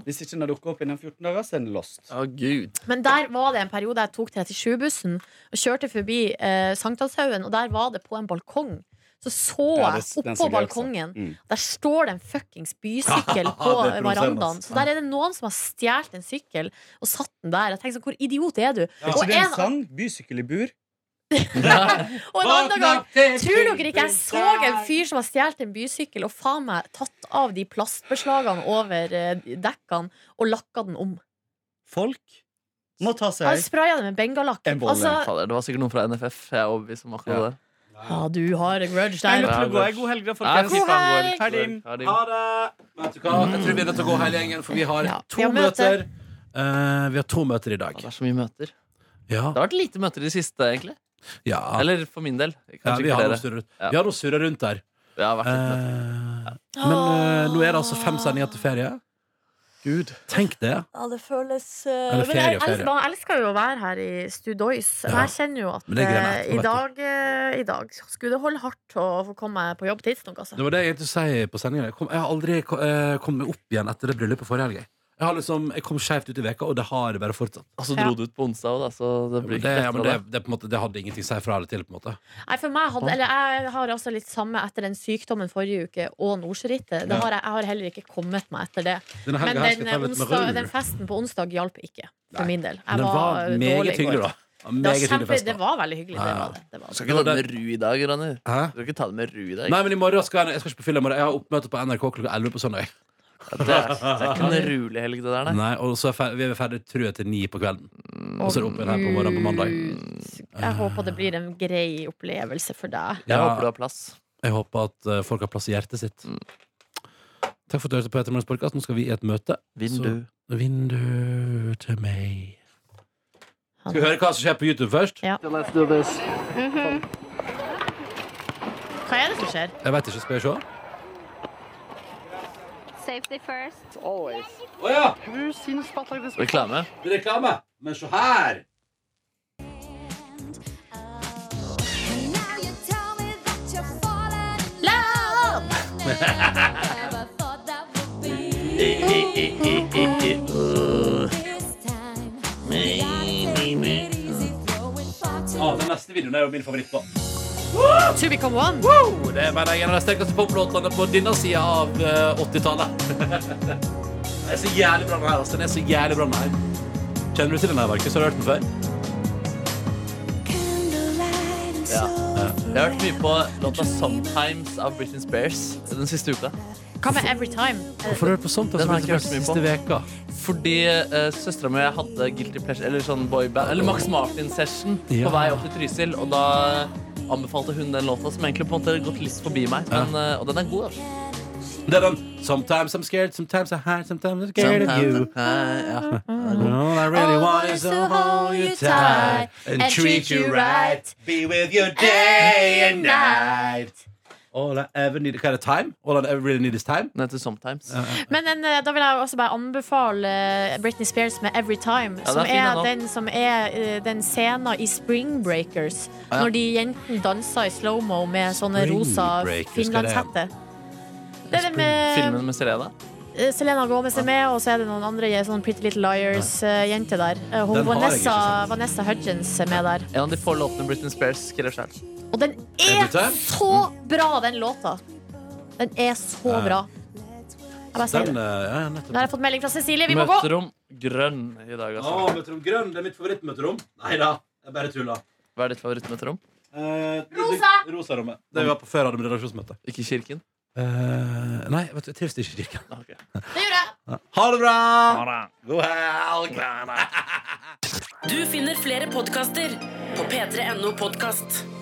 F: Hvis ikke den har dukket opp innen 14 dager, så er den lost.
D: Å, Gud.
C: Men der var det en periode jeg tok 37-bussen og kjørte forbi eh, Sankthanshaugen, og der var det på en balkong. Så så
F: Ja,
C: jeg
F: det- den så
C: oppå
F: jeg også.
C: balkongen.
F: Mm.
C: Der står det en
F: *laughs*
C: fuckings bysykkel på
F: Det altså. provoserer meg.
C: verandaen. Så der er det noen som har stjålet en sykkel og satt den der. Jeg tenker sånn, Hvor idiot er du?
F: Er ikke det en
C: annen-
F: sang? Bysykkel i bur?
C: og en annen gang Tror dere ikke jeg så en fyr som har stjålet en bysykkel og faen meg tatt av de plastbeslagene over eh, dekkene og lakka den om?
F: Folk må ta seg
C: Han spraya det med bengalakk. Altså,
D: Fader, det var sikkert noen fra NFF. Jeg er overbevist om akkurat det.
C: ja, du har en grudge der.
D: Jeg lukker på, jeg. God
K: helg, da,
D: folkens.
C: God helg.
B: Ha det! Vet du hva? Jeg tror vi er nødt til å gå hele gjengen, for vi har to
C: vi har møte.
B: møter. Eh, vi har to møter i dag. Det er
D: så mye møter.
B: Ja.
D: Det har vært lite møter i det siste, egentlig. Eller for min del.
B: Ja,
D: Kanskje
B: vi
D: ikke
B: har
D: dere.
B: noe surre rundt. Vi har noe surre rundt der. Eh, men eh, nå er det altså fem sendinger til ferie. Gud. Tenk det.
C: Ja, det føles uh,
B: Eller
C: Men jeg,
B: ferie, ferie.
C: elsker- man elsker jo å være her i Studois. Men Jeg kjenner jo at
B: Men det er greit,
C: eh,
B: vet
C: i,
B: du.
C: dag, eh, i dag skulle det holde hardt å få komme meg på jobb tidsnok, altså.
B: Det var det jeg egentlig skulle si på sendingen. Jeg, kom, jeg har aldri ko- eh, kommet meg opp igjen etter det bryllupet forrige helg. jeg. Jeg, har liksom, jeg kom skjevt ut i veka, og det har bare fortsatt.
D: Og så dro du ut på onsdag òg, da. Så det blir
B: det,
D: ikke
B: ja, Eh, men
D: lettere.
B: det, det, er på en måte, det hadde ingenting å si fra eller til, på en måte.
C: Nei, for meg hadde, eller Jeg har altså litt samme etter den sykdommen forrige uke og nordsjørittet.
B: Ja.
C: Det har jeg, jeg har heller ikke kommet meg etter det.
B: Denne helgen
C: Men
B: her skal
C: den,
B: jeg ta litt med
C: eh, onsdag,
B: ro.
C: den festen på onsdag hjalp ikke, for min del.
B: Men
C: Jeg
B: den var
C: var, eh,
B: meget
C: dårlig i går.
B: hyggelig, da. Ja,
C: Det var,
B: meget hyggelig
C: kjempe,
B: fest, da.
C: det var veldig hyggelig.
B: Ja,
C: Det
B: ja.
C: var det. det var.
D: Du skal ikke ta det med ru i dag, Ronny. Du skal ikke ta det med ru i dag.
B: Nei, men i morgen skal jeg, jeg skal ikke på fylla i morgen. Jeg har oppmøte på NRK klokka 11 på søndag.
D: det, *laughs* er, det er ikke en rolig helg, det der, nei.
B: Nei, og så er fer- vi er ferdig tror jeg til ni på kvelden. Og så er det opp igjen
C: Mm.
B: her på morgenen på mandag. Ah.
C: Jeg håper det blir en grei opplevelse for deg.
B: Jeg Ja. håper du har
D: plass.
B: Jeg håper at eh, folk har plass i hjertet sitt.
D: Mm.
B: Takk for at du hørte på Peter Morgens podcast. Nå skal vi i et møte.
D: Vindu.
B: Så, vindu til meg. Skal vi høre hva som skjer på YouTube først? Let's do this.
C: Hva er det som skjer?
B: Jeg vet ikke, skal jeg se?
M: Safety first.
F: Always.
B: Å ja!
F: Who's seen a spot like this
D: Reklame.
B: Reklame! Men se her! Ah, den neste videoen er jo min favoritt. da
C: To become one.
B: Woo! Det er mener jeg en av de sterkeste poplåtene på denne sida av eh, *laughs* 80-tallet. den er så jævlig bra, den her. Altså. Den er så jævlig bra, den her. Kjenner du til den her, Markus? Har du hørt den før?
D: Ja. Jeg har hørt mye på låta 'Sometimes' av Britney Spears den siste uka.
C: Hva med Every Time?
B: Hvorfor har du hørt på sånt?
D: Den har jeg ikke hørt
B: den
D: mye
B: siste veka.
D: Fordi uh, søstera mi og jeg hadde guilty pleasure Eller sånn boyband Eller Max Martin-session
B: Ja.
D: på vei opp til Trysil. Og da eh, anbefalte hun den låta, som egentlig på en måte har gått litt forbi meg.
B: Ja.
D: Men, eh, og den er god. altså.
B: Det er den Sometimes I'm scared, sometimes I'm high, sometimes I'm scared of
D: Sometimes
B: you. All I really want is to hold you tight and treat you right. Be with you day and night. All I ever need Hva er det? Time? All I ever really need is time?
D: Den heter Sometimes.
C: Men en, eh, da vil jeg også bare anbefale eh, Britney Spears med Every Time,
D: Ja,
C: som
D: den er fin,
C: er,
D: den også.
C: den som er eh, den scenen i Spring Breakers,
B: Ah,
D: Ja, ja.
C: når de jentene danser i slow-mo med sånne
D: Spring
C: rosa
D: Breakers, hva er det?
C: finlandshetter. Det er det med
D: Filmen med Serena.
C: eh, Selena Gomez er med, og så er det noen andre eh, sånn Pretty Little Liars-jenter der. Eh, hun,
D: Den har jeg
C: Vanessa,
D: ikke
C: Vanessa Hudgens er med der.
D: En av de få låtene Britney Spears skrev selv.
C: Og den er
D: Every Time?
C: så bra, den låta! Den er så
D: Ja.
C: bra. Jeg bare sier
B: Den,
C: det.
B: eh, ja, nettopp.
C: Nå har jeg fått melding fra Cecilie. Vi må gå!
D: Møterom grønn i dag, altså.
B: Å, møterom grønn. Det er mitt favorittmøterom. Nei da, jeg bare tuller.
D: Hva er ditt favorittmøterom?
B: Rosa! Eh, Rosarommet. Det vi var på før hadde vi redaksjonsmøte.
D: Ikke kirken?
B: Eh, nei, vet du, jeg trives ikke i kirken. *laughs*
C: Det gjorde jeg.
B: Ha det bra! God helg!
A: Du finner flere podkaster på p3.no podkast.